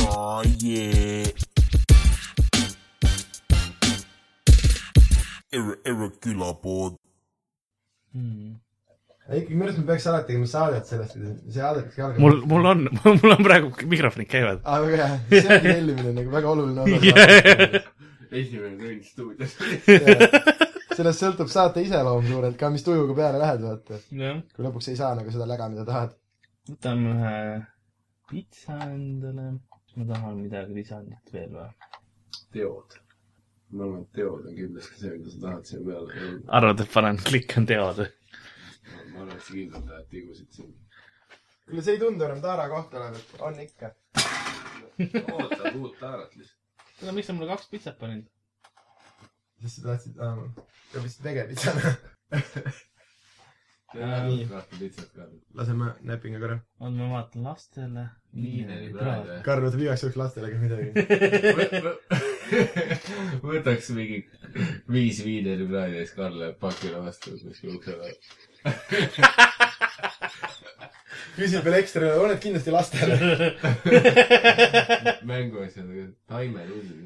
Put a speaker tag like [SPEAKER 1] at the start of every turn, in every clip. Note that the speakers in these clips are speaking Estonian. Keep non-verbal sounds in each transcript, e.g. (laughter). [SPEAKER 1] Oh yeah. Ir- Irregular board.
[SPEAKER 2] Mm.
[SPEAKER 3] ikkagi minu arust me peaks alati tegema saadet sellest , see saadetki algab .
[SPEAKER 2] mul , mul on , (laughs) mul on praegu mikrofonid käivad .
[SPEAKER 3] aa , väga hea , Ah, see ongi tellimine nagu väga oluline osa .
[SPEAKER 4] esimene tund stuudios .
[SPEAKER 3] sellest sõltub saate iseloom suurelt ka , mis tujuga peale lähed , vaata .
[SPEAKER 2] jah ,
[SPEAKER 3] kui lõpuks ei saa nagu seda läga , mida tahad .
[SPEAKER 2] võtame ühe pitsa endale . kas ma tahan midagi lisada veel või ?
[SPEAKER 4] teod . ma arvan , et teod on kindlasti see , mida sa tahad siia peale jõuda .
[SPEAKER 2] arvad , et panen klikk on teod või ?
[SPEAKER 4] ma arvan , et sa kindlalt tahad tigusid siin .
[SPEAKER 3] kuule , see ei tundu enam Taara koht olevat , on ikka .
[SPEAKER 4] ootad uut taarat lihtsalt .
[SPEAKER 2] kuule , miks sa mulle kaks pitsat panid ?
[SPEAKER 3] sest sa tahtsid , ja vist tegevitsana .
[SPEAKER 2] Nii.
[SPEAKER 4] kahte lihtsalt ka .
[SPEAKER 3] laseme näpinga korra .
[SPEAKER 2] oota , ma vaatan lastele .
[SPEAKER 4] liineri praad või ?
[SPEAKER 3] Karl võtab igaks juhuks lastele ka midagi .
[SPEAKER 4] (laughs) võtaks mingi viis viineri praadi ja siis Karl läheb pakile vastu kuskil ukse taha .
[SPEAKER 3] küsib veel ekstra , on need kindlasti lastele ?
[SPEAKER 4] mänguasjadega , taimerulli .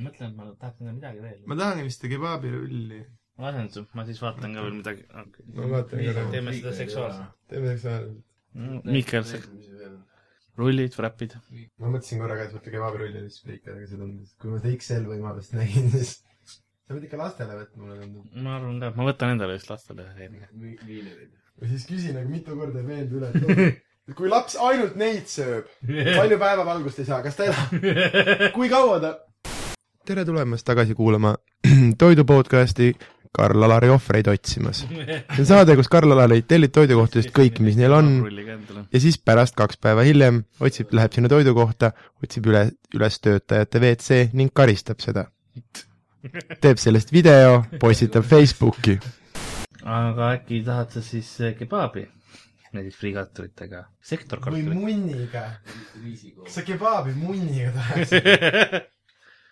[SPEAKER 2] ma mõtlen , et ma tahaks teha midagi veel .
[SPEAKER 3] ma tahan vist kebaabi rulli .
[SPEAKER 2] ma lasen su , ma siis vaatan ka veel midagi okay. .
[SPEAKER 3] ma vaatan korra .
[SPEAKER 2] teeme seda seksuaalselt .
[SPEAKER 3] teeme seksuaalselt .
[SPEAKER 2] Mihkel , Mm, rullid , fräpid .
[SPEAKER 3] ma mõtlesin korraga , et võtta kebaabi rulli ja siis kõik , aga see tundus , kui ma seda XL võimalust nägin , siis sa pead ikka lastele võtma , mulle tundub .
[SPEAKER 2] ma arvan ka , ma võtan endale just lastele ühe hetke .
[SPEAKER 4] viinerid .
[SPEAKER 3] ja siis küsin , aga mitu korda ei meeldi üle , et oota, et kui laps ainult neid sööb , palju päevavalgust ei saa , kas ta elab , kui kaua ta ? tere tulemast tagasi kuulama (clears throat) Toidu podcasti Karl-Alari ohvreid otsimas . see on saade , kus Karl-Alarid tellib toidukohtadest kõik , mis neil on
[SPEAKER 2] rulliga endale .
[SPEAKER 3] ja siis pärast kaks päeva hiljem otsib , läheb sinna toidukohta , otsib üle , üles töötajate WC ning karistab seda . teeb sellest video , postitab Facebooki .
[SPEAKER 2] aga äkki tahad sa siis eh, kebaabi ? näiteks friikaatoritega . sektor kartulit .
[SPEAKER 3] munniga ,
[SPEAKER 4] riisikool .
[SPEAKER 3] sa kebaabi munniga tahad ?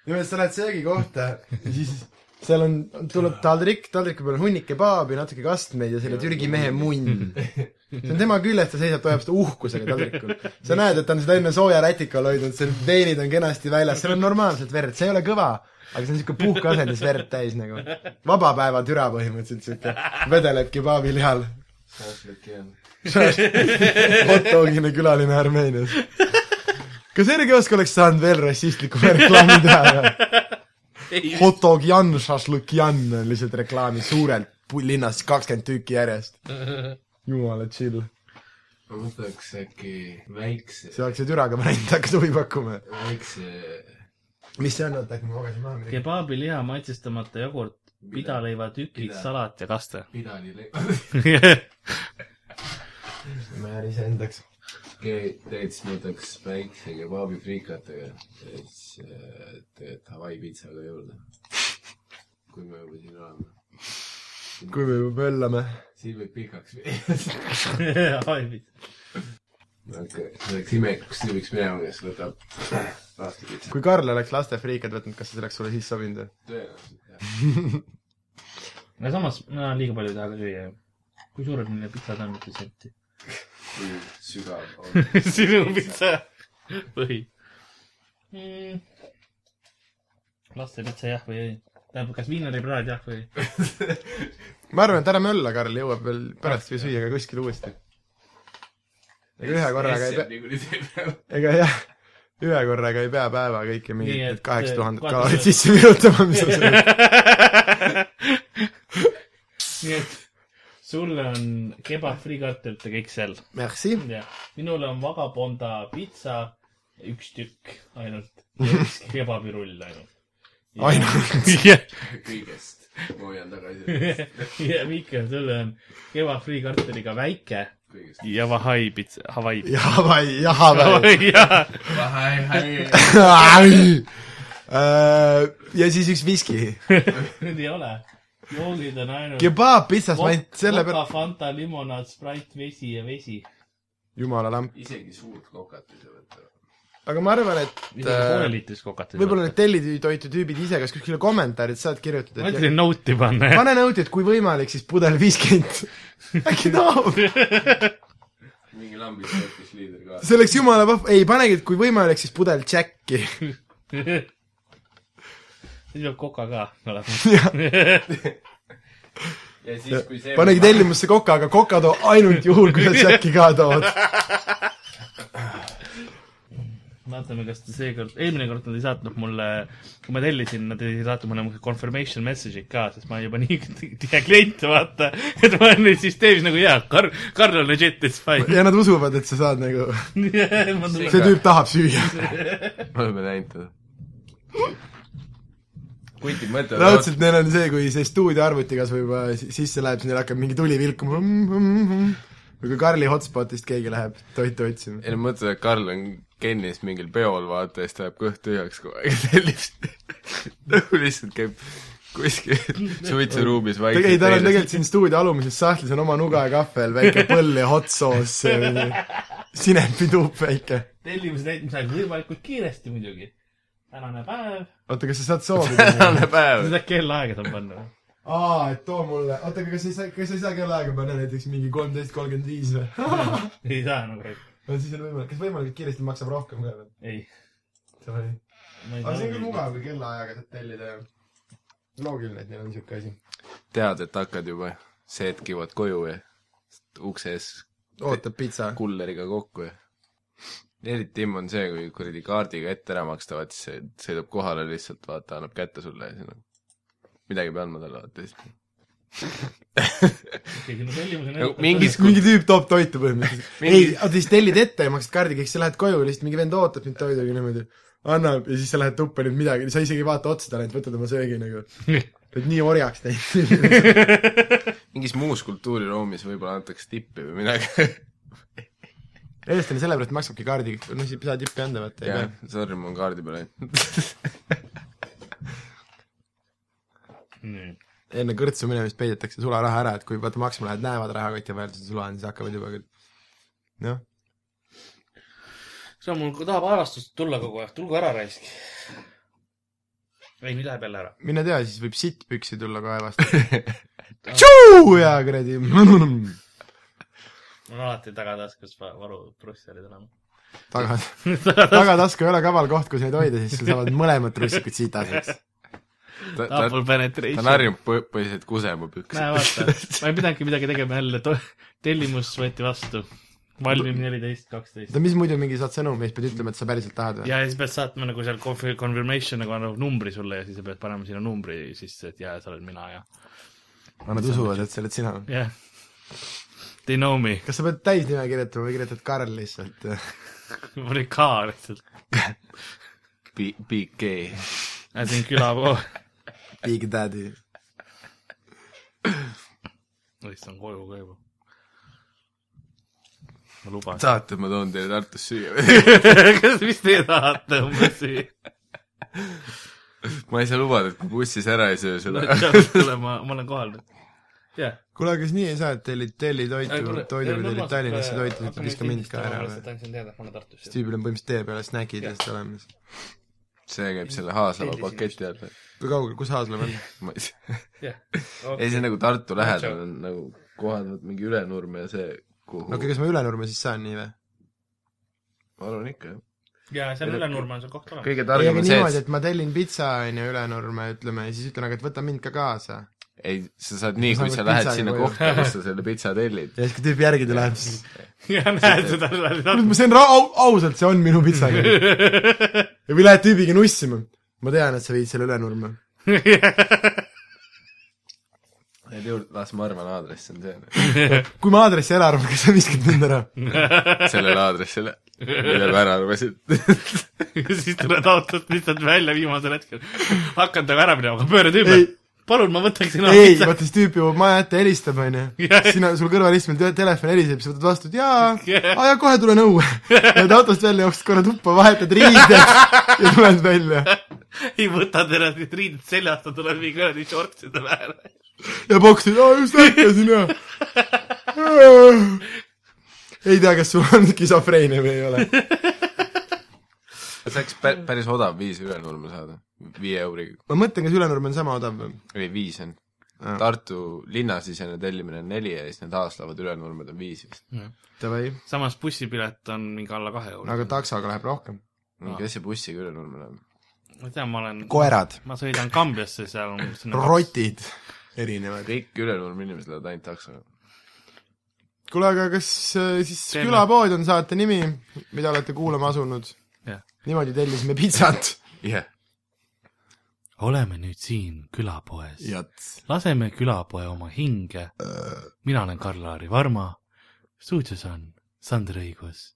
[SPEAKER 3] ja sa lähed söögikohta ja siis seal on , tuleb taldrik , taldriku peal on hunnik kebaabi , natuke kastmeid ja selle Türgi mehe munn . see on tema küljes , ta seisab , ta hoiab seda uhkusega taldrikul . sa näed , et ta on seda enne sooja rätika all hoidnud , seal veenid on kenasti väljas , seal on normaalselt verd , see ei ole kõva , aga see on niisugune puhkasendis verd täis nagu . vaba päeva türa põhimõtteliselt niisugune , vedeleb kebaabi lihal .
[SPEAKER 4] šašlik jah .
[SPEAKER 3] (laughs) hot dogina külaline Armeenias . kas Erki Osk oleks saanud veel rassistlikuma reklaami teha või ? hot dog Jan , šašlõkk Jan on lihtsalt reklaami suurelt pu- linnas kakskümmend tükki järjest . jumala chill ,
[SPEAKER 4] ma võtaks äkki väikse ,
[SPEAKER 3] see oleks ju türaga variant , hakkas huvi pakkuma .
[SPEAKER 4] väikse
[SPEAKER 3] mis see on , oota , äkki ma magasin maha midagi .
[SPEAKER 2] kebaabi liha maitsestamata jogurt , pidaleivatükid ,
[SPEAKER 4] Pida-
[SPEAKER 2] salat ja (laughs) kaste .
[SPEAKER 4] pidani le- . (laughs)
[SPEAKER 3] ma jään iseendaks .
[SPEAKER 4] okei , tegelikult siis ma võtaks väikse kebaabi friikatega ja siis äh, tegelikult Hawaii pitsaga juurde . kui me juba siin oleme .
[SPEAKER 3] kui me juba möllame .
[SPEAKER 4] siin võib pikaks minna . okei , see oleks imelik , kui siin võiks minema , kes võtab laastipitsa .
[SPEAKER 3] kui Karl oleks lastefriikad võtnud , kas see oleks sulle siis sobinud või ?
[SPEAKER 4] tõenäoliselt jah .
[SPEAKER 2] no samas , mina liiga palju ei taha ka süüa ju . kui suured neile pitsad on , mitu senti ?
[SPEAKER 4] kui sügav on .
[SPEAKER 2] (laughs) sinu pitsa või mm. ? laste pitsa jah või ei ? tähendab , kas viineripraad jah või ?
[SPEAKER 3] ma arvan , et ära mölla , Karl , jõuab veel pärast või süüa ka kuskil uuesti . ega ühe korraga ei pea ,
[SPEAKER 4] niikuinii teeb ära .
[SPEAKER 3] ega jah , ühe korraga ei pea päeva kõike mingit
[SPEAKER 2] Nii et,
[SPEAKER 3] need kaheksa tuhandet
[SPEAKER 2] eh,
[SPEAKER 3] kalorit sisse virutama , mis
[SPEAKER 2] (laughs)
[SPEAKER 3] sa sööd .
[SPEAKER 2] nii et sulle on kebab friikartulitega XL ,
[SPEAKER 3] Merci .
[SPEAKER 2] jah . minul on vagabonda pitsa üks tükk ainult ja üks kebabirull ainult .
[SPEAKER 3] (laughs) ainult .
[SPEAKER 4] kõigest . ma hoian tagasi
[SPEAKER 2] ja Mihkel , sulle on kebab friikartuliga väike
[SPEAKER 4] kõigest .
[SPEAKER 2] ja Hawaii pitsa , Hawaii .
[SPEAKER 3] Jahvai , Jahvai .
[SPEAKER 2] (laughs) jaa .
[SPEAKER 4] hai , hai .
[SPEAKER 3] Äh, ja siis üks viski .
[SPEAKER 2] Need ei ole . joogid on ainult
[SPEAKER 3] kebaab pitsas , ma ainult
[SPEAKER 2] Vot-
[SPEAKER 3] selle
[SPEAKER 2] Coca ,
[SPEAKER 3] peale .
[SPEAKER 2] Fanta , limonaad , Sprite , vesi ja vesi .
[SPEAKER 3] jumala lamp .
[SPEAKER 4] isegi suurt kokat ei saa võtta .
[SPEAKER 3] aga ma arvan , et äh,
[SPEAKER 2] isegi pooleliitrist kokat ei
[SPEAKER 3] võib-olla need . tellitoitu tüübid ise , kas kuskile kommentaarides saad kirjutada ,
[SPEAKER 2] ma
[SPEAKER 3] et ja-
[SPEAKER 2] ütlesin note'i panna jah . (laughs)
[SPEAKER 3] pane nõuti , et kui võimalik , siis pudel viiskümmend . äkki tahab ?
[SPEAKER 4] mingi lambis võttis liider ka .
[SPEAKER 3] see oleks jumala vahva , ei panegi , kui võimalik , siis pudel Jacki .
[SPEAKER 2] siis peab koka ka olema .
[SPEAKER 4] ja siis , kui see
[SPEAKER 3] panegi tellimusse koka , aga koka too ainult juhul , kui nad Jacki ka toovad .
[SPEAKER 2] (laughs) vaatame , kas ta seekord , eelmine kord nad ei saatnud mulle , kui ma tellisin , nad ei saatnud mulle mingi confirmation message'id ka , sest ma olen juba nii (laughs) tihe klient , vaata , et ma olen nüüd süsteemis nagu jaa , Karl , Karl on legit , it's
[SPEAKER 3] (laughs)
[SPEAKER 2] fine . (laughs)
[SPEAKER 3] ja nad usuvad , et sa saad nagu ,
[SPEAKER 2] ma tulen
[SPEAKER 3] see tüüp tahab süüa .
[SPEAKER 4] me oleme näinud teda . kuigi mõtlevad ,
[SPEAKER 3] raudselt neil on see , kui see stuudioarvuti kas või juba si- sisse läheb , siis neil hakkab mingi tuli vilkuma . või kui Karli hotspotist keegi läheb toitu otsima .
[SPEAKER 4] ei no mõtlevad , et Karl on Kennis mingil peol , vaata , ja siis ta jääb kõht tühjaks kogu aeg (laughs) ja tellib seda . nagu lihtsalt käib kuskil suitsuruumis vaikselt .
[SPEAKER 3] ei , tal on tegelikult siin stuudio alumises sahtlis on oma nuga ja kahvel , väike põll ja hot sauce , sinepituup väike .
[SPEAKER 2] tellimuse täitmise aeg võimalikult kiiresti muidugi . tänane päev .
[SPEAKER 3] oota , kas sa saad soovida ?
[SPEAKER 4] tänane päev .
[SPEAKER 2] seda kellaaega saab panna või ?
[SPEAKER 3] aa , et too mulle , oota , aga kas sa ei saa , kas sa ei saa kellaaega panna näiteks mingi kolmteist kolmkümmend viis või ?
[SPEAKER 2] ei
[SPEAKER 3] (laughs)
[SPEAKER 2] saa nagu ,
[SPEAKER 3] no siis on võimalik , kas võimalikult kiiresti maksab rohkem ka või ?
[SPEAKER 2] ei .
[SPEAKER 3] aga see on küll mugav , kui kellaajaga saad tellida ja loogiline , et neil on niisugune asi .
[SPEAKER 4] tead , et hakkad juba , seed kivad koju ja ukse ees
[SPEAKER 3] ootab pitsa .
[SPEAKER 4] kulleriga kokku ja eriti imm on see , kui kuradi kaardiga ette ära makstavad , siis see sõidab kohale lihtsalt , vaata , annab kätte sulle ja siis nagu midagi ei pea andma talle , vaata siis .
[SPEAKER 2] keegi no tellimuse
[SPEAKER 4] nagu . mingis
[SPEAKER 3] mingi tüüp toob toitu põhimõtteliselt .
[SPEAKER 4] Mingi-
[SPEAKER 3] ei , oota siis tellid ette ja maksad kaardiga , eks sa lähed koju , lihtsalt mingi vend ootab sind toiduga niimoodi , annab ja siis sa lähed tuppa nüüd midagi , sa isegi ei vaata otsa talle , et võtad oma söögi nagu . oled nii orjaks teinud .
[SPEAKER 4] mingis muus kultuuriruumis võib-olla antakse tippi või midagi .
[SPEAKER 3] eestlane sellepärast maksabki kaardiga , no siis ei saa tippi anda , vaata , ei
[SPEAKER 4] jah
[SPEAKER 3] pea .,
[SPEAKER 4] sorry , mul on kaardi peal ainult .
[SPEAKER 3] enne kõrtsu minemist peidetakse sularaha ära , et kui vaata maksma lähed , näevad rahakoti vahel seda sula on , siis hakkavad juba küll noh ,
[SPEAKER 2] see on mul , tahab harrastust tulla kogu aeg , tulgu ära raisk . ei , nüüd läheb jälle ära .
[SPEAKER 3] mine tea , siis võib sittpüksi tulla (laughs) kaevast . tšuu ja kuradi . (laughs)
[SPEAKER 2] mul on alati tagataskus va- varu Brüsselis enam .
[SPEAKER 3] (laughs) tagasi . tagatasku ei ole kaval koht , kus neid hoida , siis sul saavad mõlemad trussikud (laughs) sitaseks .
[SPEAKER 4] ta , ta ,
[SPEAKER 2] Double
[SPEAKER 4] ta
[SPEAKER 2] penetration .
[SPEAKER 4] on harjunud põ- , põhiliselt kusema püksi .
[SPEAKER 2] näe , vaata , ma ei pidanudki midagi tegema jälle , tellimus võeti vastu . valmib neliteist , kaksteist .
[SPEAKER 3] oota , mis muidu mingi saad sõnumi , siis pead ütlema , et sa päriselt tahad või ?
[SPEAKER 2] ja siis pead saatma nagu seal confi- confirmation nagu annab numbri sulle ja siis sa pead panema sinna numbri sisse , et jaa , sa oled mina ja ,
[SPEAKER 3] Nad usuvad , et sa oled sina .
[SPEAKER 2] jah . They know me ,
[SPEAKER 3] kas sa pead täisnime kirjutama või kirjutad Karl lihtsalt ? äh, (laughs)
[SPEAKER 2] ma olin ka lihtsalt .
[SPEAKER 4] BK .
[SPEAKER 2] I think you love all .
[SPEAKER 3] Big Daddy .
[SPEAKER 2] issand , koju ka juba . ma luban .
[SPEAKER 4] tahate , ma toon teile Tartust süüa (laughs) või ?
[SPEAKER 2] (laughs) kas , mis te tahate umbes süüa ?
[SPEAKER 4] ma ei saa lubada , et kui bussis ära ei söö seda .
[SPEAKER 2] kuule , ma , ma olen kohal nüüd . jah .
[SPEAKER 3] kuule , aga kas nii ei saa , et tellid , telli toitu , toidu või tellid Tallinnasse toitu , siis viska mind ka ära või ?
[SPEAKER 2] tahtsin teada , et ma olen Tartus
[SPEAKER 3] siis . tüübil on põhimõtteliselt tee peale snäkid ja siis olemas .
[SPEAKER 4] see käib selle Haaslava paketi alla .
[SPEAKER 3] kui kaugel , kus Haasla on ?
[SPEAKER 4] ma ei tea .
[SPEAKER 2] jah . Oh,
[SPEAKER 4] ei , see on nagu Tartu lähedal
[SPEAKER 2] Tšau.
[SPEAKER 4] on nagu kohad , vot mingi Ülenurme ja see , kuhu
[SPEAKER 3] okei , kas ma Ülenurme siis saan nii või ?
[SPEAKER 4] ma arvan ikka , jah .
[SPEAKER 2] ja seal Ülenurme on see koht olemas . (laughs)
[SPEAKER 4] kõige
[SPEAKER 3] ei ,
[SPEAKER 4] targem
[SPEAKER 3] aga
[SPEAKER 4] on see ,
[SPEAKER 3] niimoodi ,
[SPEAKER 4] et
[SPEAKER 3] et ma tellin pitsa , on ju , Ülenurme , ütleme , ja siis ütlen , aga et võta mind ka kaasa .
[SPEAKER 4] ei , sa saad nii ,
[SPEAKER 3] Ma
[SPEAKER 4] kui
[SPEAKER 3] saan
[SPEAKER 4] sa
[SPEAKER 3] ka
[SPEAKER 4] lähed
[SPEAKER 3] pitsa
[SPEAKER 4] sinna
[SPEAKER 3] koju.
[SPEAKER 4] kohta , kus (laughs) sa selle pitsa tellid .
[SPEAKER 3] ja siis , kui tüüp järgida läheb , siis
[SPEAKER 2] ja näed seda
[SPEAKER 3] (laughs) kuule ,
[SPEAKER 2] Ülenurme .
[SPEAKER 3] Noh, ma sain ra- , au- ausalt , see on minu pitsa . (laughs) ja või lähed tüübiga nussima . ma tean , et sa viid selle Ülenurme .
[SPEAKER 4] Need juurde , las ma arvan , aadress on see ,
[SPEAKER 3] kui ma aadressi ära arvan , kas sa viskad mind ära ?
[SPEAKER 4] sellele aadressile , mille ma ära arvasin .
[SPEAKER 2] (laughs) siis tuled autost lihtsalt välja viimasel hetkel . hakkan temaga ära minema , aga pöörad ümber
[SPEAKER 3] Ei. .
[SPEAKER 2] palun , ma võtaksin
[SPEAKER 3] ei , vaata siis tüüp jõuab maja ette , helistab , onju .
[SPEAKER 2] Jah.
[SPEAKER 3] sina , sul kõrvalistmel te- telefon heliseb , sa võtad vastu , et jaa ,
[SPEAKER 2] Jah.
[SPEAKER 3] aa jaa , kohe tulen õue . Lähed autost välja , jooksed korra tuppa , vahetad riided ja tuled välja .
[SPEAKER 2] ei võta teda siit riided seljast , ta tuleb mingi kuradi shortside peale .
[SPEAKER 3] ja poksid , aa just ärkasin ja . ei tea , kas sul on skisofreenia või ei ole .
[SPEAKER 4] (laughs) see oleks pä- , päris odav viis Ülenurme saada , viie euriga ,
[SPEAKER 3] ma mõtlen , kas Ülenurme on sama odav või ?
[SPEAKER 4] või viis on . Tartu linnasisene tellimine on neli ja siis need Aaslavad ülenurmed on viis vist .
[SPEAKER 3] Davai ,
[SPEAKER 2] samas bussipilet on mingi alla kahe euro
[SPEAKER 3] aga . taksoga läheb rohkem .
[SPEAKER 2] Ah.
[SPEAKER 4] kes see bussiga ülenurme läheb ?
[SPEAKER 2] ma ei tea , ma olen ,
[SPEAKER 3] koerad ,
[SPEAKER 2] ma sõidan Kambjasse , seal on
[SPEAKER 3] (laughs)
[SPEAKER 2] umbes
[SPEAKER 3] rotid , erinevad .
[SPEAKER 4] kõik ülenurme inimesed lähevad ainult taksoga .
[SPEAKER 3] kuule , aga kas äh, siis
[SPEAKER 2] Teeme.
[SPEAKER 3] Teeme. külapood on saate nimi , mida olete kuulama asunud ?
[SPEAKER 2] Jah.
[SPEAKER 3] niimoodi tellisime pitsat .
[SPEAKER 4] jah .
[SPEAKER 2] oleme nüüd siin külapoes .
[SPEAKER 3] jats .
[SPEAKER 2] laseme külapoe oma hinge .
[SPEAKER 3] Äh.
[SPEAKER 2] mina olen Karl-Laari Varma . stuudios on Sander Õigus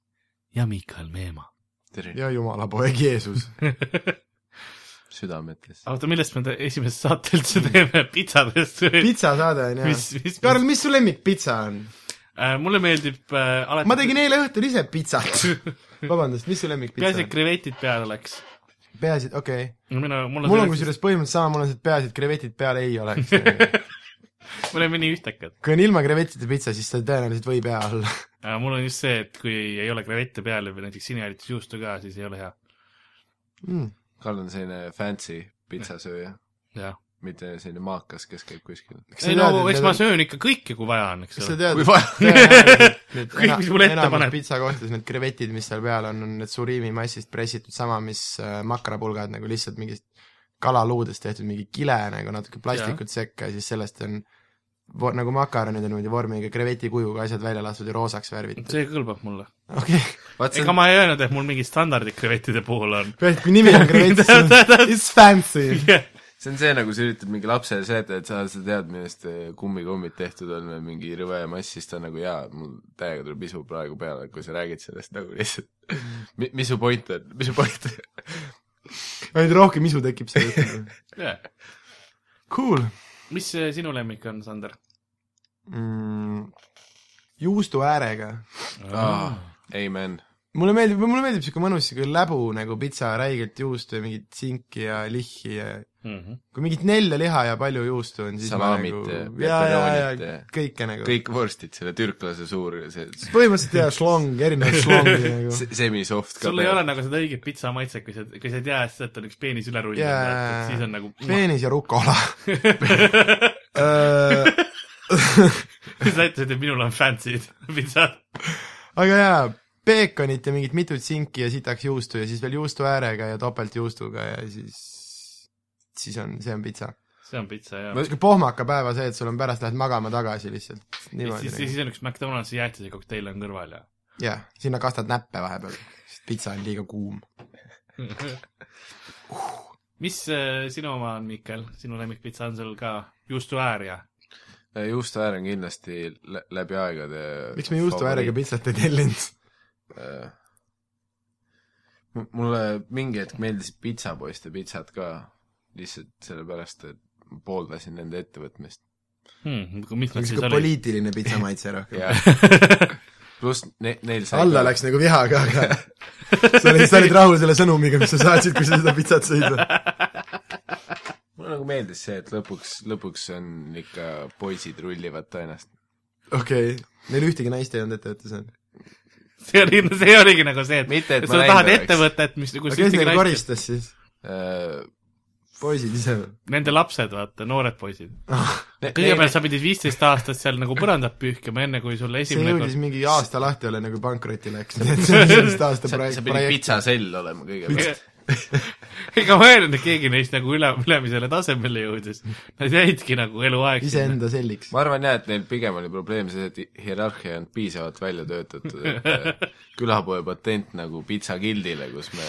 [SPEAKER 2] ja Miikal Meemaa .
[SPEAKER 4] tere ,
[SPEAKER 3] ja jumalapoeg
[SPEAKER 2] (laughs)
[SPEAKER 3] Jeesus .
[SPEAKER 4] südametes .
[SPEAKER 2] oota , millest me te- esimest saate üldse teeme ,
[SPEAKER 3] (laughs)
[SPEAKER 2] pitsadest või ?
[SPEAKER 3] pitsasaade on
[SPEAKER 2] mis
[SPEAKER 3] ju .,
[SPEAKER 2] mis ,
[SPEAKER 3] Karl , mis su lemmikpitsa on ?
[SPEAKER 2] äh, mulle meeldib äh, alati
[SPEAKER 3] ma tegin e- eile õhtul ise
[SPEAKER 2] (laughs)
[SPEAKER 3] pitsat . vabandust , mis su
[SPEAKER 2] peaasi ,
[SPEAKER 3] lemmikpitsa
[SPEAKER 2] et
[SPEAKER 3] on ?
[SPEAKER 2] krevetid peale läks .
[SPEAKER 3] peasid , okei okay. .
[SPEAKER 2] no mina , mul
[SPEAKER 3] mul on kusjuures põhimõtteliselt sama , mul on see , et peaasi , et krevetid peal ei oleks . (laughs)
[SPEAKER 2] (laughs) me oleme nii ühtekad .
[SPEAKER 3] kui on ilma krevetita pitsa , siis ta tõenäoliselt võib hea olla .
[SPEAKER 2] aga mul on just see , et kui ei ole krevette peal või näiteks sinihallitusjuustu ka , siis ei ole hea .
[SPEAKER 3] Hmm.
[SPEAKER 4] Karl on selline fancy pitsasööja ,
[SPEAKER 2] jah .
[SPEAKER 4] mitte selline maakas , kes käib kuskil .
[SPEAKER 2] ei no eks ma söön ikka kõike , kui vaja on , eks
[SPEAKER 3] kas sa
[SPEAKER 2] ole .
[SPEAKER 3] tead ,
[SPEAKER 4] kui vaja .
[SPEAKER 3] (laughs)
[SPEAKER 2] (laughs) Kõik, mis mulle ette paned.
[SPEAKER 3] pitsakohtades need krevetid , mis seal peal on , on need surimi massist pressitud sama , mis äh, makrapulgad nagu lihtsalt mingist kalaluudest tehtud mingi kile nagu natuke plastikut sekka ja siis sellest on vo- nagu makaronid on niimoodi vormiga kreveti kujuga asjad välja lastud ja roosaks värvitud .
[SPEAKER 2] see kõlbab mulle .
[SPEAKER 3] okei ,
[SPEAKER 4] vaat see
[SPEAKER 2] ega
[SPEAKER 4] on ,
[SPEAKER 2] ma ei öelnud , et mul mingid standardid krevettide puhul on .
[SPEAKER 3] peaasi , et kui nimi on
[SPEAKER 2] (laughs)
[SPEAKER 3] krevet , siis on it's fancy .
[SPEAKER 4] see on see , nagu sa üritad mingi lapsele seletada , et sa , sa tead , millest eh, kummikummid tehtud on või mingi rõve mass , siis ta on nagu jaa , mul täiega tuleb isu praegu peale , kui sa räägid sellest nagu lihtsalt (laughs) mi, . mis su point on , mis su point on ?
[SPEAKER 3] ainult rohkem isu tekib sellest . Cool
[SPEAKER 2] mis see sinu lemmik on , Sander ?
[SPEAKER 3] mm, . juustu äärega
[SPEAKER 4] Amen .
[SPEAKER 3] mulle meeldib , mulle meeldib siuke mõnus siuke läbu nagu pitsa räigelt juustu ja mingit sinki ja lihhi ja
[SPEAKER 2] Mhm.
[SPEAKER 3] kui mingit nelja liha ja palju juustu on , siis
[SPEAKER 4] Salamit
[SPEAKER 3] ma nagu
[SPEAKER 4] ja
[SPEAKER 3] ja , ja ,
[SPEAKER 4] pepperonit
[SPEAKER 3] ja
[SPEAKER 4] ja-
[SPEAKER 3] kõike nagu Kõik. .
[SPEAKER 4] kõik vorstid , selle türklase suur , see
[SPEAKER 3] põhimõtteliselt jaa , šlong , erinevad šlongid nagu .
[SPEAKER 4] se- semi-soft ka
[SPEAKER 2] sul ei ole . nagu seda õiget pitsa maitset , kui sa , kui sa ei tea , et sealt on üks peenis üle rullinud
[SPEAKER 3] Jaa.
[SPEAKER 2] yeah. , siis on nagu , (laughs)
[SPEAKER 3] peenis ja rukola (laughs) Äh, (laughs)
[SPEAKER 2] sa ütlesid , et minul on (laughs) fancy'd pitsad .
[SPEAKER 3] aga jaa , peekonit ja mingit mitut sinki ja sitaks juustu ja siis veel juustu äärega ja topeltjuustuga ja siis , siis on , see on pitsa .
[SPEAKER 2] see on pitsa , jah .
[SPEAKER 3] siuke pohmaka päeva see , et sul on pärast lähed magama tagasi lihtsalt
[SPEAKER 2] ja
[SPEAKER 3] niimoodi
[SPEAKER 2] siis , ja
[SPEAKER 3] nagu. .
[SPEAKER 2] siis on üks McDonaldsi jäätise kokteil on kõrval ja .
[SPEAKER 3] jah , sinna kastad näppe vahepeal , sest pitsa on liiga kuum .
[SPEAKER 2] mis äh, sinu oma on , Mihkel , sinu lemmikpitsa on sul ka juustu äär ja ?
[SPEAKER 4] juustu äär Äh, on kindlasti lä- läbi aegade
[SPEAKER 3] miks me juustu äärega pitsat ei tellinud ?
[SPEAKER 4] Äh, mu- mulle mingi hetk meeldisid pitsapoiste pitsad ka , lihtsalt sellepärast , et ma pooldasin nende ettevõtmist
[SPEAKER 2] hmm, . mis nad siis
[SPEAKER 3] niisugune
[SPEAKER 2] olid ?
[SPEAKER 3] poliitiline pitsamaitse rohkem .
[SPEAKER 4] ja (laughs) pluss ne- , neil sai
[SPEAKER 3] alla
[SPEAKER 4] ka-
[SPEAKER 3] läks nagu viha ka ,
[SPEAKER 2] (laughs)
[SPEAKER 3] aga sa olid , sa olid rahul selle sõnumiga , mis sa saatsid , kui sa seda pitsat sõid .
[SPEAKER 4] mulle nagu meeldis see , et lõpuks , lõpuks on ikka poisid rullivad tõenäoliselt .
[SPEAKER 3] okei okay. , neil ühtegi naist ei olnud ettevõttes olnud .
[SPEAKER 2] (laughs) see oli , see oligi nagu see , et
[SPEAKER 4] Mitte, et ma
[SPEAKER 2] sa
[SPEAKER 4] näinud
[SPEAKER 2] tahad
[SPEAKER 4] oleks.
[SPEAKER 2] ettevõtet , mis nagu
[SPEAKER 3] aga kes neid koristas siis ?
[SPEAKER 4] Äh,
[SPEAKER 3] poisid ise või ?
[SPEAKER 2] nende lapsed , vaata , noored poisid .
[SPEAKER 4] Ne-
[SPEAKER 2] kõigepealt sa pidid viisteist aastast seal nagu põrandat pühkima , enne kui sulle
[SPEAKER 3] see
[SPEAKER 2] esimene
[SPEAKER 3] jõudis
[SPEAKER 2] kord
[SPEAKER 3] mingi aasta lahti olla , enne kui pankrotti
[SPEAKER 2] (laughs)
[SPEAKER 3] läks , nii et see oli sellest aasta
[SPEAKER 4] sa , sa
[SPEAKER 3] projekt ,
[SPEAKER 4] pidid
[SPEAKER 3] projekt .
[SPEAKER 4] pitsasell olema kõigepealt .
[SPEAKER 2] (laughs) ega ma ei öelnud , et keegi neist nagu üle , ülemisele tasemele jõudis . Nad jäidki nagu eluaeg sinna .
[SPEAKER 3] iseenda selliks .
[SPEAKER 4] ma arvan jah , et neil pigem oli probleem see , et hierarhia ei olnud piisavalt välja töötatud , et äh, külapoe patent nagu pitsagildile , kus me ,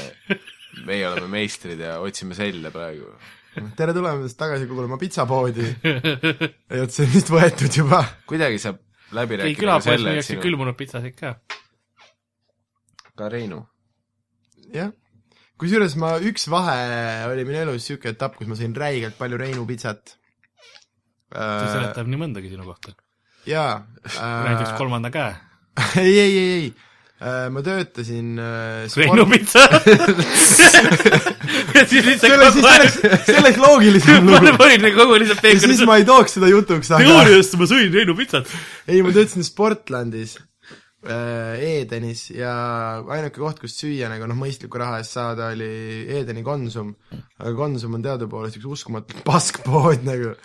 [SPEAKER 4] meie oleme meistrid ja otsime selle praegu .
[SPEAKER 3] (laughs) tere tulemast tagasi kuulama pitsapoodi . ei olnud see vist võetud juba .
[SPEAKER 4] kuidagi saab läbi
[SPEAKER 2] ei ,
[SPEAKER 4] rääkida ka
[SPEAKER 2] külapoes
[SPEAKER 4] selle , et
[SPEAKER 2] müüakse
[SPEAKER 4] siin on
[SPEAKER 2] külmunud pitsasid ka .
[SPEAKER 4] ka Reinu .
[SPEAKER 3] jah . kusjuures ma , üks vahe oli minu elus niisugune etapp , kus ma sõin räigelt palju Reinu pitsat .
[SPEAKER 2] see
[SPEAKER 4] Äh,
[SPEAKER 2] seletab nii mõndagi sinu kohta .
[SPEAKER 3] jaa .
[SPEAKER 4] äh,
[SPEAKER 2] näiteks kolmanda käe .
[SPEAKER 3] ei , ei , ei , ei . ma töötasin äh,
[SPEAKER 2] Reinu
[SPEAKER 3] spordi- (laughs)
[SPEAKER 2] pitsa . ja siis lihtsalt
[SPEAKER 3] selles ,
[SPEAKER 2] kogu
[SPEAKER 3] selles
[SPEAKER 2] aeg ,,
[SPEAKER 3] selles
[SPEAKER 2] (laughs)
[SPEAKER 3] loogilisem
[SPEAKER 2] ma
[SPEAKER 3] lugu .
[SPEAKER 2] panin kogu lihtsalt
[SPEAKER 3] ja siis
[SPEAKER 2] peekonisse .
[SPEAKER 3] ma ei tooks seda jutuks , aga
[SPEAKER 2] teooriasse ma sõin Reinu pitsat .
[SPEAKER 3] ei , ma töötasin Sportlandis äh, , Edenis ja ainuke koht , kus süüa nagu noh , mõistliku raha eest saada , (laughs) oli Edeni Konsum . aga Konsum on teadupoolest üks uskumatult paskpood nagu .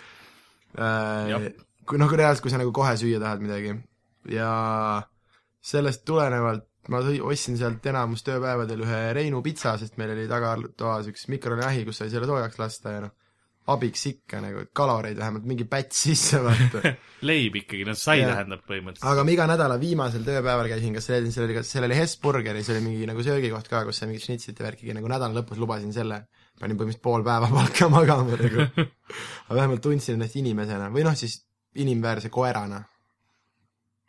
[SPEAKER 3] äh,
[SPEAKER 2] Jah.
[SPEAKER 3] kui noh , kui reaalselt , kui sa nagu kohe süüa tahad midagi ja sellest tulenevalt ma sõi- ostsin sealt enamus tööpäevadel ühe Reinu pitsa , sest meil oli tagatoas üks mikrolaiahi , kus sai selle soojaks lasta ja noh , abiks ikka nagu , et kaloreid vähemalt mingi päts sisse vaata .
[SPEAKER 2] leib ikkagi , no sai
[SPEAKER 3] Jah.
[SPEAKER 2] tähendab põhimõtteliselt .
[SPEAKER 3] aga ma iga nädala viimasel tööpäeval käisin , kas seal , seal oli , kas seal oli Hesburgeri , see oli mingi nagu söögikoht ka , kus sai mingit šnitsit ja värki , nagu nädala lõpus lubasin selle . panin põhimõtteliselt pool päeva (laughs) palka magama nagu . aga vähemalt tundsin ennast inimesena või noh , siis inimväärse koerana .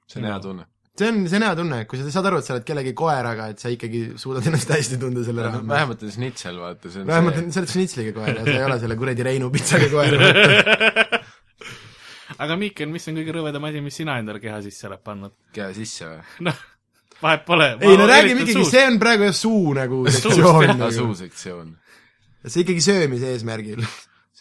[SPEAKER 4] see on hea tunne .
[SPEAKER 3] see on , see on hea tunne , kui sa saad aru , et sa oled kellegi koeraga , et sa ikkagi suudad ennast hästi tunda selle raha .
[SPEAKER 4] vähemalt on šnitšel , vaata , see on
[SPEAKER 3] vähemalt
[SPEAKER 4] see
[SPEAKER 3] on , sa oled šnitsliga koer ja sa ei ole selle kuradi Reinu pitsaga
[SPEAKER 4] (laughs)
[SPEAKER 3] koer .
[SPEAKER 2] aga Miikel , mis on kõige rõvedam asi , mis sina endale keha sisse oled pannud ?
[SPEAKER 4] käe sisse või ?
[SPEAKER 2] noh , vahet pole .
[SPEAKER 3] ei no räägime ikkagi , see on praegu jah suu nagu sektsioon
[SPEAKER 4] aa ,
[SPEAKER 3] nagu. .
[SPEAKER 4] suusektsioon .
[SPEAKER 3] see ikkagi söömise eesmärgil .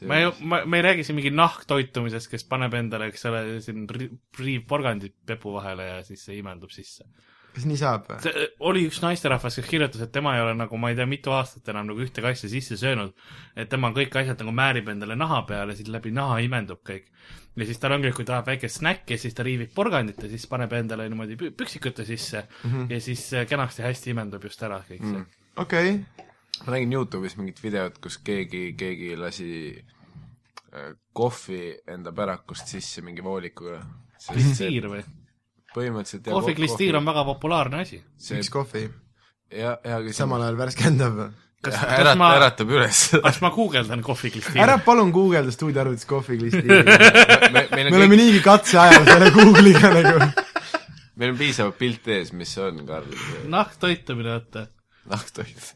[SPEAKER 2] ma ei , ma , me ei räägi siin mingi nahktoitumisest , kes paneb endale , eks ole , siin ri- priivporgandid pepu vahele ja siis see imendub sisse .
[SPEAKER 3] kas nii saab või ?
[SPEAKER 2] see äh, oli üks naisterahvas , kes kirjutas , et tema ei ole nagu ma ei tea , mitu aastat enam nagu ühtegi asja sisse söönud . et tema kõik asjad nagu määrib endale naha peale , siis läbi naha imendub kõik . ja siis tal ongi , kui ta tahab väikest snäkki , siis ta riivib porgandit ja siis paneb endale niimoodi pü- püksikute sisse mm . -hmm. ja siis äh, kenasti hästi imendub just ära kõik see mm . -hmm.
[SPEAKER 3] okei okay.
[SPEAKER 4] ma nägin Youtube'is mingit videot , kus keegi , keegi lasi äh, kohvi enda pärakust sisse mingi voolikuga .
[SPEAKER 2] klistiir või ?
[SPEAKER 4] põhimõtteliselt jah,
[SPEAKER 2] kohviklistiir on väga populaarne asi .
[SPEAKER 4] see
[SPEAKER 3] üks kohvi ,
[SPEAKER 4] ja , ja kes
[SPEAKER 3] samal ajal värskendav .
[SPEAKER 2] kas , kas
[SPEAKER 4] ärat- ,
[SPEAKER 2] ma ,
[SPEAKER 4] äratab
[SPEAKER 2] (laughs)
[SPEAKER 4] üles .
[SPEAKER 2] kas ma guugeldan kohviklistiir
[SPEAKER 3] ära ? palun guugelda stuudio arvutis kohviklisti .
[SPEAKER 2] (laughs)
[SPEAKER 4] me, meil
[SPEAKER 3] me
[SPEAKER 4] on
[SPEAKER 3] oleme
[SPEAKER 4] kõik ,
[SPEAKER 3] niigi katseajal selle Google'iga nagu .
[SPEAKER 4] meil on piisavalt pilte ees , mis see on , Karl .
[SPEAKER 2] nahktoitumine , vaata .
[SPEAKER 4] nahktoit . (laughs)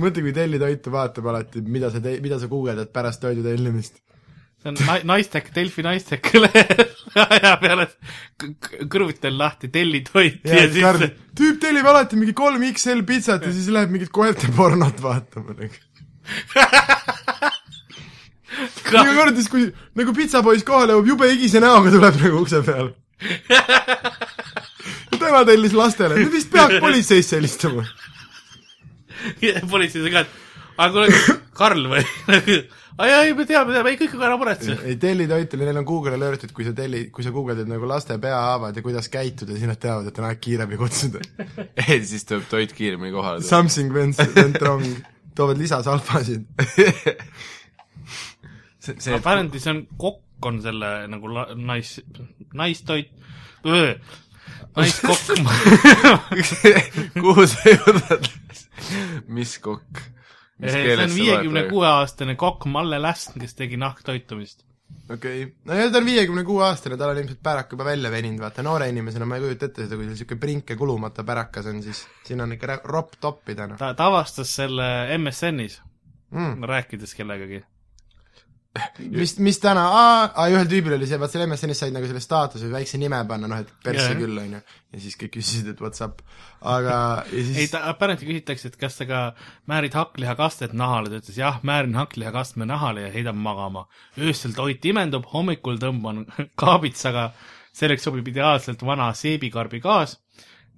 [SPEAKER 3] mõtle , kui tellitoitu vaatab alati , mida sa tei- , mida sa guugeldad pärast toidu tellimist .
[SPEAKER 2] see on na- naistek , Delfi naistek lehel (laughs) aja peale k- k- kõrvutel lahti tellitoit ja, ja
[SPEAKER 3] Karl
[SPEAKER 2] siis ,
[SPEAKER 3] tüüp tellib alati mingi kolm XL pitsat ja siis läheb mingit koerte pornot vaatama nagu . iga
[SPEAKER 2] (laughs) ka,
[SPEAKER 3] kord , siis kui nagu pitsapoiss kohale jõuab , jube higise näoga tuleb nagu ukse
[SPEAKER 2] (laughs)
[SPEAKER 3] peale . tema tellis lastele , me vist peaks politseisse helistama .
[SPEAKER 2] (laughs) ja politsei sai ka , et aga kuule , Karl või ? (laughs) aa jaa , ei me teame , teame , ei kõik on ära muretse . (laughs)
[SPEAKER 3] ei , tellitoitele , neil on Google'i lööritud , kui sa telli- , kui sa guugeldad nagu laste peahaavad ja kuidas käituda , siis nad teavad , et on aeg kiiremini kutsuda .
[SPEAKER 2] (laughs)
[SPEAKER 4] ei , siis tuleb toit kiiremini kohale .
[SPEAKER 3] Something went, went wrong , toovad lisasalfasid .
[SPEAKER 4] see , see ,
[SPEAKER 2] apparently see on , kokk on selle nagu la- nais , naistoit , (laughs) naiskokk .
[SPEAKER 4] (laughs) kuhu sa jõudad ? mis kokk ?
[SPEAKER 2] (laughs) see on viiekümne kuue aastane kokk Malle Lästn , kes tegi nahktoitumist .
[SPEAKER 3] okei okay. . no ja ta on viiekümne kuue aastane , tal on ilmselt pärak juba välja veninud , vaata noore inimesena ma ei kujuta ette seda , kui sul niisugune prink ja kulumata pärakas on , siis siin on ikka rä- ropp toppida , noh .
[SPEAKER 2] ta , ta avastas selle MSN-is ,
[SPEAKER 3] Mm.
[SPEAKER 2] rääkides kellegagi
[SPEAKER 3] mis , mis täna , aa , aa , ühel tüübil oli see , vaat seal MSN-is said nagu selle staatuse või väikse nime panna , noh et persse
[SPEAKER 2] Jajah.
[SPEAKER 3] yeah. küll , on ju . ja siis kõik küsisid , et what's up . aga ja siis
[SPEAKER 2] ei , ta , apparently küsitakse , et kas sa ka määrid hakklihakastet nahale , ta ütles jah , määrin hakklihakastme nahale ja heidan magama . öösel toit imendub , hommikul tõmban (laughs) kaabitsaga , selleks sobib ideaalselt vana seebikarbi kaas ,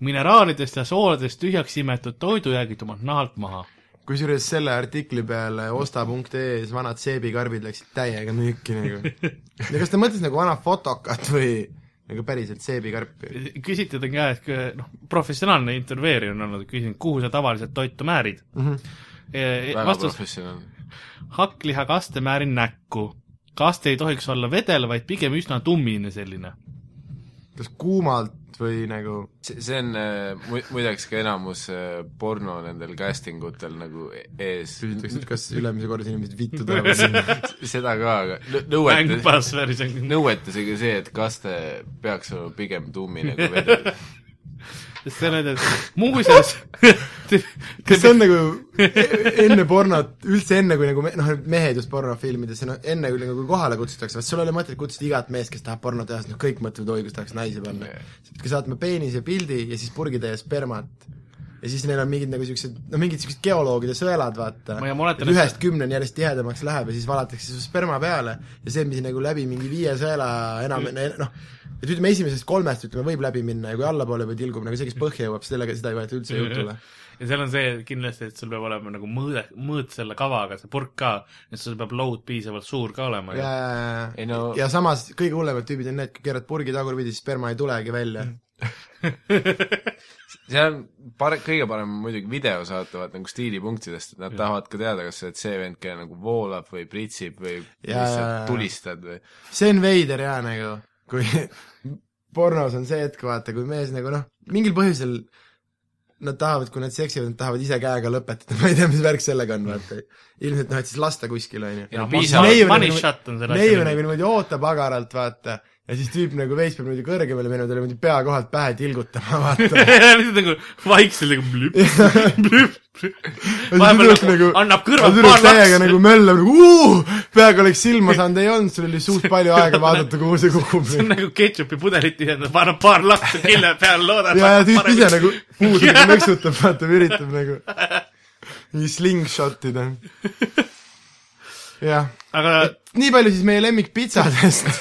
[SPEAKER 2] mineraalidest ja sooladest tühjaks imetud toidujäägid oma nahalt maha .
[SPEAKER 3] kusjuures selle artikli peale osta.ee-s vanad seebikarbid läksid täiega müüki nagu . ja kas ta mõtles nagu vana fotokat või nagu päriselt seebikarpi ?
[SPEAKER 2] küsiti ta ka , et kõ- noh , professionaalne intervjueerija on olnud , küsinud , kuhu sa tavaliselt toitu määrid mm . -hmm.
[SPEAKER 4] väga
[SPEAKER 2] vastus ,
[SPEAKER 4] professionaalne .
[SPEAKER 2] hakklihakaste määrin näkku . kaste ei tohiks olla vedel , vaid pigem üsna tummine selline
[SPEAKER 3] kas kuumalt või nagu
[SPEAKER 4] see , see on äh, mu- , muideks ka enamus äh, porno nendel casting utel nagu e- ees .
[SPEAKER 3] küsitakse , et kas ülemise korras inimesed vittu tulevad sinna ?
[SPEAKER 4] seda ka , aga nõ-
[SPEAKER 2] mäng
[SPEAKER 4] nõuetes ,
[SPEAKER 2] passveris
[SPEAKER 3] (laughs)
[SPEAKER 2] on ,
[SPEAKER 4] nõuetesega see , et kaste peaks olema pigem tuumine
[SPEAKER 2] (laughs)
[SPEAKER 4] kui vedel .
[SPEAKER 2] sest see on , et
[SPEAKER 3] (laughs)
[SPEAKER 2] muuseas
[SPEAKER 3] kas see on nagu enne pornot , üldse enne , kui nagu me- noh , mehed just pornofilmidesse , no enne kui nagu kohale kutsutakse , vot sul ei ole mõtet kutsuda igat meest , kes tahab porno teha , sest noh , kõik mõtlevad , oi , kus tahaks naisi panna . sa peadki saatma peenise pildi ja siis purgitäie spermat . ja siis neil on mingid nagu siuksed , no mingid siuksed geoloogide sõelad , vaata
[SPEAKER 2] Ma- ja ma oletan, . et-
[SPEAKER 3] ühest kümneni järjest tihedamaks läheb ja siis valatakse su sperma peale ja see , mis nagu läbi mingi viie sõela enam , noh , et ütleme esimesest kolmest ütleme võib läbi minna ja kui allapoole või tilgub nagu see , kes põhja jõuab , sellega seda ei võeta üldse jutule .
[SPEAKER 2] ja seal on see kindlasti , et sul peab olema nagu mõõde , mõõt selle kavaga , see purk ka , et sul peab load piisavalt suur ka olema
[SPEAKER 3] ja
[SPEAKER 2] yeah. .,
[SPEAKER 4] ei no
[SPEAKER 3] ja samas kõige hullemad tüübid on need , keerad purgi tagurpidi , sperma ei tulegi välja .
[SPEAKER 4] Mm. see on pare- , kõige parem on muidugi video saata , vaata nagu stiilipunktidest , et nad ja. tahavad ka teada , kas sa oled see vend , kelle nagu voolab või pritsib või
[SPEAKER 3] Jaa.
[SPEAKER 4] lihtsalt tulistad või
[SPEAKER 3] see on veider jaa nagu , kui (laughs) pornos on see hetk , vaata , kui mees nagu noh , mingil põhjusel nad tahavad , kui nad seksivad , nad tahavad ise käega lõpetada , (laughs) ma ei tea , mis värk sellega on , vaata . ilmselt noh , et siis lasta kuskil , on ju .
[SPEAKER 4] Ja
[SPEAKER 2] piisavalt , money shot on selle
[SPEAKER 3] neiu nagu . niimoodi ootab agaralt , vaata , ja siis tüüp nagu veits peab niimoodi kõrgemale minema , tal niimoodi pea kohalt pähe tilgutama , vaata .
[SPEAKER 2] (laughs) lihtsalt nagu vaikselt nagu
[SPEAKER 3] (laughs)
[SPEAKER 2] blüp , blüp , blüp . vahepeal nagu,
[SPEAKER 3] tüdruk
[SPEAKER 2] nagu
[SPEAKER 3] nagu-
[SPEAKER 2] annab kõrvalt
[SPEAKER 3] tüdruk
[SPEAKER 2] paar
[SPEAKER 3] täiega
[SPEAKER 2] lapsi
[SPEAKER 3] nagu
[SPEAKER 2] nagu... .
[SPEAKER 3] möllab nagu uu , peaaegu oleks silma saanud , ei olnud , sul oli suht palju aega vaadata , kuhu see kukub .
[SPEAKER 2] (laughs) see on nagu ketšupi pudelit ühendab , paneb paar lapsi kille peale , loodab .
[SPEAKER 3] ja , ja tüüp ise nagu
[SPEAKER 2] (laughs)
[SPEAKER 3] puudega möksutab , vaata , üritab nagu mingi slingshot ida . jah ,
[SPEAKER 2] aga
[SPEAKER 3] nii palju siis meie
[SPEAKER 2] (laughs)
[SPEAKER 3] lemmikpitsadest .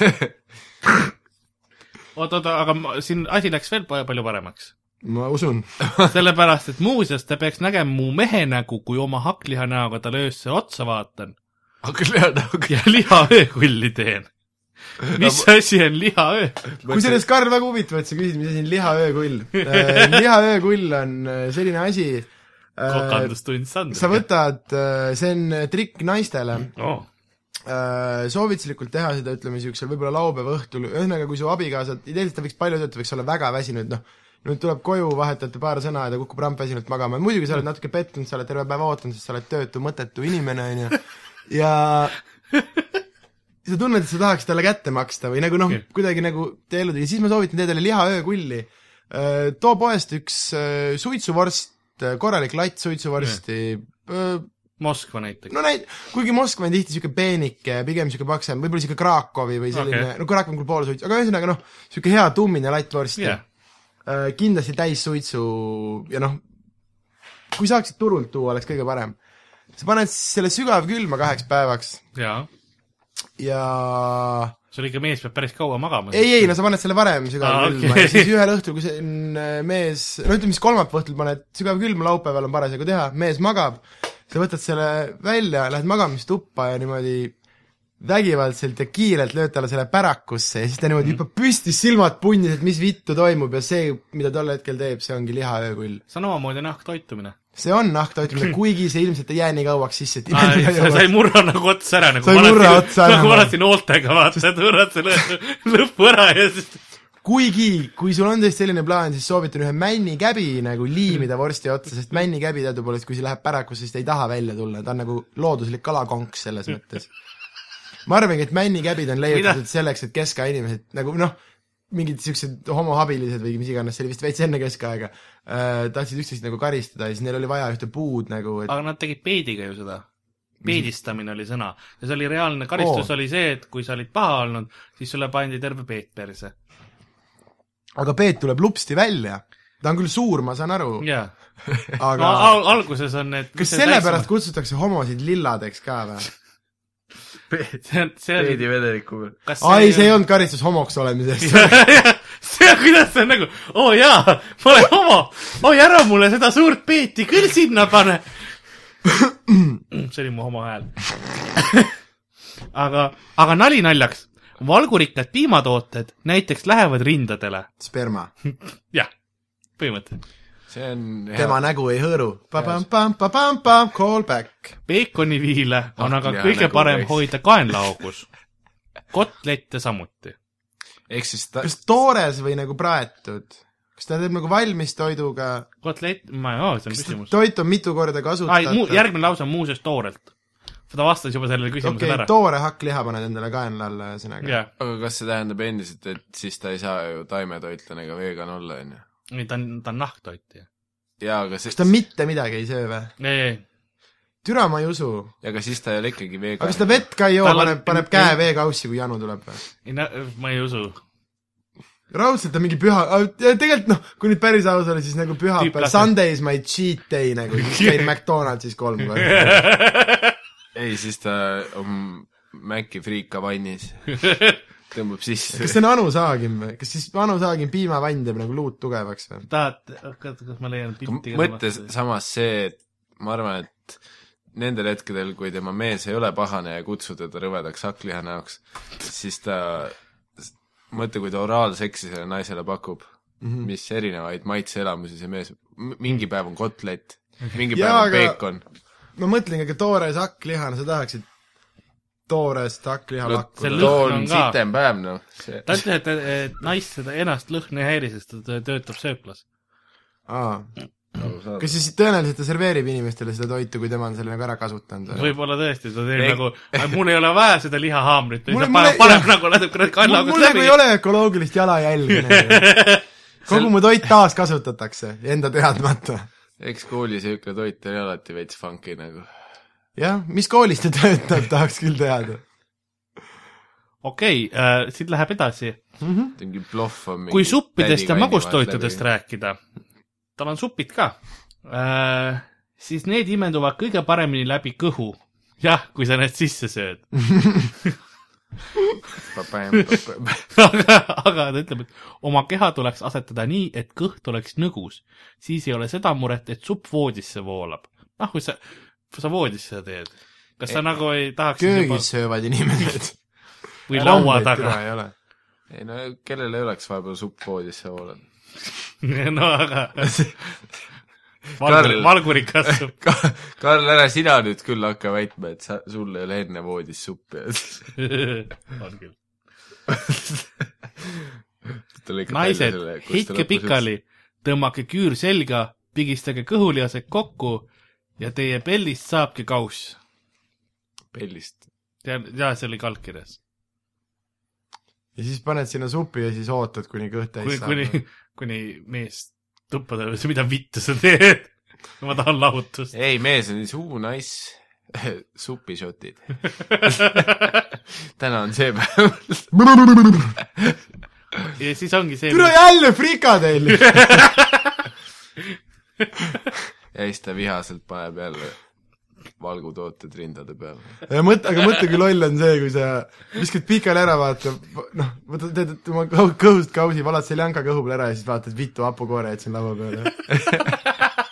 [SPEAKER 2] oot-oot , aga ma- siin asi läks veel pa- palju paremaks .
[SPEAKER 3] ma usun .
[SPEAKER 2] sellepärast , et muuseas ta peaks nägema mu mehe nägu , kui oma hakkliha näoga talle öösse otsa vaatan
[SPEAKER 4] (laughs) hakka lööda , hakka
[SPEAKER 2] ja lihaöökulli teen . mis asi on lihaöö ?
[SPEAKER 3] kusjuures , Karl , väga huvitav , et sa küsid , mis asi on lihaöökull . lihaöökull on äh, selline asi ,
[SPEAKER 2] kokandustund Sander .
[SPEAKER 3] Äh, sa võtad , see on trikk naistele
[SPEAKER 2] oh. .
[SPEAKER 3] Äh, soovituslikult teha seda , ütleme niisugusel võib-olla laupäeva õhtul , ühesõnaga kui su abikaasa , ideeliselt ta võiks palju töötada , võiks olla väga väsinud , noh , nüüd tuleb koju , vahetate paar sõna ja ta kukub rampväsinult magama , muidugi sa oled natuke pettunud , sa oled terve päeva ootanud , sest sa oled töötu , mõttetu inimene , on ju , ja sa tunned , et sa tahaks talle kätte maksta või nagu noh
[SPEAKER 2] Okei. ,
[SPEAKER 3] kuidagi nagu tee ellu tuli , siis ma soovitan teha talle lihaöökulli . too poest üks äh, suitsuvorst , korralik latt suitsuvorsti , Äh,
[SPEAKER 2] Moskva näiteks
[SPEAKER 3] no . näit- , kuigi Moskva on tihti niisugune peenike , pigem niisugune paksem , võib-olla niisugune Krakowi või selline okay.
[SPEAKER 2] Okei. ,
[SPEAKER 3] no Krakow on küll pool suitsu , aga ühesõnaga noh , niisugune hea tummine lattvorst
[SPEAKER 2] jah
[SPEAKER 3] yeah. , kindlasti täis suitsu ja noh , kui saaksid turult tuua , oleks kõige parem . sa paned selle sügavkülma kaheks päevaks
[SPEAKER 2] jaa .
[SPEAKER 3] ja
[SPEAKER 2] sul ikka mees peab päris kaua magama .
[SPEAKER 3] ei , ei , no sa paned selle varem sügavkülma
[SPEAKER 2] Aa, okei.
[SPEAKER 3] okay. ja siis ühel õhtul , kui see on äh, mees , no ütleme siis kolmapäeva õhtul paned sügavkülma , laupäeval on parasjagu teha , mees magab , sa võtad selle välja , lähed magamistuppa ja niimoodi vägivaldselt ja kiirelt lööd talle selle pärakusse ja siis ta niimoodi hüppab mm. püsti , silmad punnis , et mis vittu toimub ja see , mida tol hetkel teeb , see ongi lihaöökull .
[SPEAKER 2] see on omamoodi nahktoitumine .
[SPEAKER 3] (laughs) see on nahktoitmine ,
[SPEAKER 2] (laughs)
[SPEAKER 3] kuigi see ilmselt ei jää nii kauaks sisse , et imendada ei
[SPEAKER 2] sa ei
[SPEAKER 3] jõua .
[SPEAKER 2] murra nagu otsa ära , nagu
[SPEAKER 3] Sa ei murra
[SPEAKER 2] vanasti-
[SPEAKER 3] otsa ära.
[SPEAKER 2] nagu vanasti nooltega vaata , et murrad selle lõpu ära ja siis
[SPEAKER 3] kuigi , kui sul on tõesti selline plaan , siis soovitan ühe männikäbi nagu liimida vorsti otsa , sest männikäbi teadupoolest , kui see läheb pärakusse , siis ta ei taha välja tulla , ta on nagu looduslik kalakonks
[SPEAKER 2] (laughs)
[SPEAKER 3] selles mõttes . ma arvangi , et männikäbid on leiutatud
[SPEAKER 2] Mida?
[SPEAKER 3] selleks , et keskaja inimesed nagu noh , mingid siuksed homohabilised või mis iganes , see oli vist veits enne keskaega äh, , tahtsid üksteist nagu karistada ja siis neil oli vaja ühte puud nagu , et
[SPEAKER 2] aga nad tegid peediga ju seda . peedistamine oli sõna ja see oli reaalne karistus oh.
[SPEAKER 3] Oo.
[SPEAKER 2] oli see , et kui sa olid paha olnud , siis sulle pandi terve peet perse .
[SPEAKER 3] aga Peet tuleb lupsti välja . ta on küll suur , ma saan aru ,
[SPEAKER 2] jaa . no
[SPEAKER 3] Oh. aga
[SPEAKER 2] al alguses on need
[SPEAKER 3] kas sellepärast kutsutakse homosid lilladeks ka või ?
[SPEAKER 2] see on , see on ,
[SPEAKER 4] vedelikku peal .
[SPEAKER 2] kas
[SPEAKER 3] aa ei , see ei olnud karistus homoks
[SPEAKER 2] (laughs)
[SPEAKER 3] olemise eest .
[SPEAKER 2] see on , kuidas see on nagu , oo jaa , ma olen homo , oi ära mulle seda suurt peeti küll sinna pane . see oli mu homo hääl . (laughs) aga , aga nali naljaks , valgurikkad piimatooted näiteks lähevad rindadele .
[SPEAKER 3] sperma .
[SPEAKER 2] jah , põhimõtteliselt .
[SPEAKER 4] see on
[SPEAKER 3] tema
[SPEAKER 4] hea ,
[SPEAKER 3] nägu ei hõõru . pa-pam-pam-pa-pam-pam , call back .
[SPEAKER 2] peekoniviile on
[SPEAKER 4] Ah,
[SPEAKER 2] aga
[SPEAKER 4] jaa,
[SPEAKER 2] kõige
[SPEAKER 4] nagu
[SPEAKER 2] parem
[SPEAKER 4] võiks.
[SPEAKER 2] hoida kaenlaaugus . kotlette samuti .
[SPEAKER 4] ehk siis ta ,
[SPEAKER 3] kas toores või nagu praetud ? kas ta teeb nagu valmis toiduga ?
[SPEAKER 2] kotlett , ma ei tea , see on
[SPEAKER 3] kas ta-
[SPEAKER 2] küsimus .
[SPEAKER 3] toit on mitu korda
[SPEAKER 2] ai , muu ,
[SPEAKER 3] kasutatud ?
[SPEAKER 2] järgmine lause on muuseas toorelt . ta vastas juba sellele küsimusele
[SPEAKER 3] okei
[SPEAKER 2] ära ,
[SPEAKER 3] toore hakkliha paned endale kaenla alla , ühesõnaga .
[SPEAKER 2] jah ,
[SPEAKER 4] aga kas see tähendab endiselt , et siis ta ei saa ju taimetoitlane ega vegan olla , on ju ?
[SPEAKER 2] ei ta on , ta on nahktoit ju .
[SPEAKER 4] jaa , aga
[SPEAKER 3] kas ta
[SPEAKER 4] see ,
[SPEAKER 3] mitte midagi ei söö või ?
[SPEAKER 2] ei , ei ,
[SPEAKER 3] türa ma ei usu .
[SPEAKER 4] aga siis ta ei ole ikkagi vegan .
[SPEAKER 3] aga kas ta vett ka ei joo ,
[SPEAKER 2] Tal on- Mm,
[SPEAKER 3] paneb , paneb käe veekaussi , kui janu tuleb või ?
[SPEAKER 2] ei no ma ei usu .
[SPEAKER 3] raudselt on mingi püha , tegelikult noh , kui nüüd päris aus olla , siis nagu pühapäev ,
[SPEAKER 2] Tüüplased.
[SPEAKER 3] Sundays my cheat day nagu ,
[SPEAKER 2] (laughs)
[SPEAKER 3] käin McDonaldsis kolm korda . (laughs)
[SPEAKER 4] ei , siis ta on Maci friika vannis . tõmbab sisse
[SPEAKER 3] kas . see on Anu Saagim või ? kas siis Anu Saagim piimavann teeb nagu luud tugevaks või ?
[SPEAKER 2] tahad , oota , kas ma leian pilti
[SPEAKER 4] mõttes samas see , et ma arvan , et nendel hetkedel , kui tema mees ei ole pahane ja kutsub teda rõvedaks hakkliha näoks , siis ta , mõtle , kui ta oraalseksi sellele naisele pakub mm ,
[SPEAKER 3] Mhm.
[SPEAKER 2] Mhm.
[SPEAKER 4] -hmm. mis erinevaid maitseelamusi see mees , mingi päev on kotlet , mingi
[SPEAKER 3] Mhm.
[SPEAKER 4] päev
[SPEAKER 3] Jaa,
[SPEAKER 4] on
[SPEAKER 3] aga-
[SPEAKER 4] peekon .
[SPEAKER 3] ma mõtlen , aga toores hakklihana , sa tahaksid toorest hakkliha
[SPEAKER 4] No,
[SPEAKER 3] pakkuda
[SPEAKER 2] see
[SPEAKER 3] no, ?
[SPEAKER 2] lõhn
[SPEAKER 4] too on
[SPEAKER 2] on ka.
[SPEAKER 4] sitem päev , noh .
[SPEAKER 2] ta ütles , et , et naist seda ennast lõhna ei häiri , sest ta tö- töötab sööklas .
[SPEAKER 3] aa , kas siis tõenäoliselt ta serveerib inimestele seda toitu , kui tema on selle nagu ära kasutanud või ?
[SPEAKER 2] võib-olla tõesti , ta teeb
[SPEAKER 4] Ei-
[SPEAKER 2] nagu , mul ei ole vaja seda lihahaamrit , ta
[SPEAKER 3] Mulle-
[SPEAKER 2] paneb ,
[SPEAKER 3] mulle-
[SPEAKER 2] paneb
[SPEAKER 3] jah.
[SPEAKER 2] nagu natukene
[SPEAKER 3] mul
[SPEAKER 2] kannaga
[SPEAKER 3] mul nagu ei . ole ökoloogilist jalajälge .
[SPEAKER 2] (laughs)
[SPEAKER 3] kogu mu toit taaskasutatakse enda teadmata .
[SPEAKER 4] eks koolis niisugune toit oli alati veits funky nagu .
[SPEAKER 3] jah , mis koolis ta töötab , tahaks küll teada .
[SPEAKER 2] okei äh, , siit läheb edasi .
[SPEAKER 4] mingi plohv on mingi
[SPEAKER 2] kui suppidest ja magustoitudest . rääkida , tal on supid ka äh, , siis need imenduvad kõige paremini läbi kõhu . jah , kui sa need sisse sööd . (laughs) aga , aga ta ütleb , et oma keha tuleks asetada nii , et kõht oleks nõgus . siis ei ole seda muret , et supp voodisse voolab . noh , kui sa , sa voodisse seda teed . kas sa nagu ei tahaks siis juba-
[SPEAKER 3] köögis söövad inimesed .
[SPEAKER 2] või laua taga ?
[SPEAKER 4] ei no kellel ei oleks vahepeal supp voodisse voolanud ?
[SPEAKER 2] (laughs) no aga valgur , valgurid kasvab .
[SPEAKER 4] (laughs) Ka- Karl , ära sina nüüd küll hakka väitma , et sa , sul ei ole enne voodis suppi (laughs) olnud .
[SPEAKER 2] on küll . (laughs) naised , heitke
[SPEAKER 4] heitke
[SPEAKER 2] pikali , tõmmake küür selga , pigistage kõhulihased kokku ja teie pellist saabki kauss .
[SPEAKER 4] pellist .
[SPEAKER 2] tean , jaa , see oli kalkkirjas .
[SPEAKER 3] ja siis paned sinna supi ja siis ootad , kuni kõht täis
[SPEAKER 2] kuni ,
[SPEAKER 3] saab .
[SPEAKER 2] kuni , kuni mees tuppa tuleb , mida vittu sa teed ? (laughs) ma tahan lahutust .
[SPEAKER 4] ei , mees on siis huu (laughs) nice supišotid . (laughs) täna on see päev . (laughs)
[SPEAKER 2] ja siis ongi see ,
[SPEAKER 3] tule jälle frikadelli .
[SPEAKER 4] ja siis ta vihaselt paneb jälle valgutooted rindade peale .
[SPEAKER 3] mõtle , aga mõtle , kui loll on see , kui sa viskad pikali ära , vaata , noh , võtad , teed oma kõhu- kõhust kausi , valad seljanka kõhu peal ära ja siis vaatad vittu hapukoore jätsin laua peale .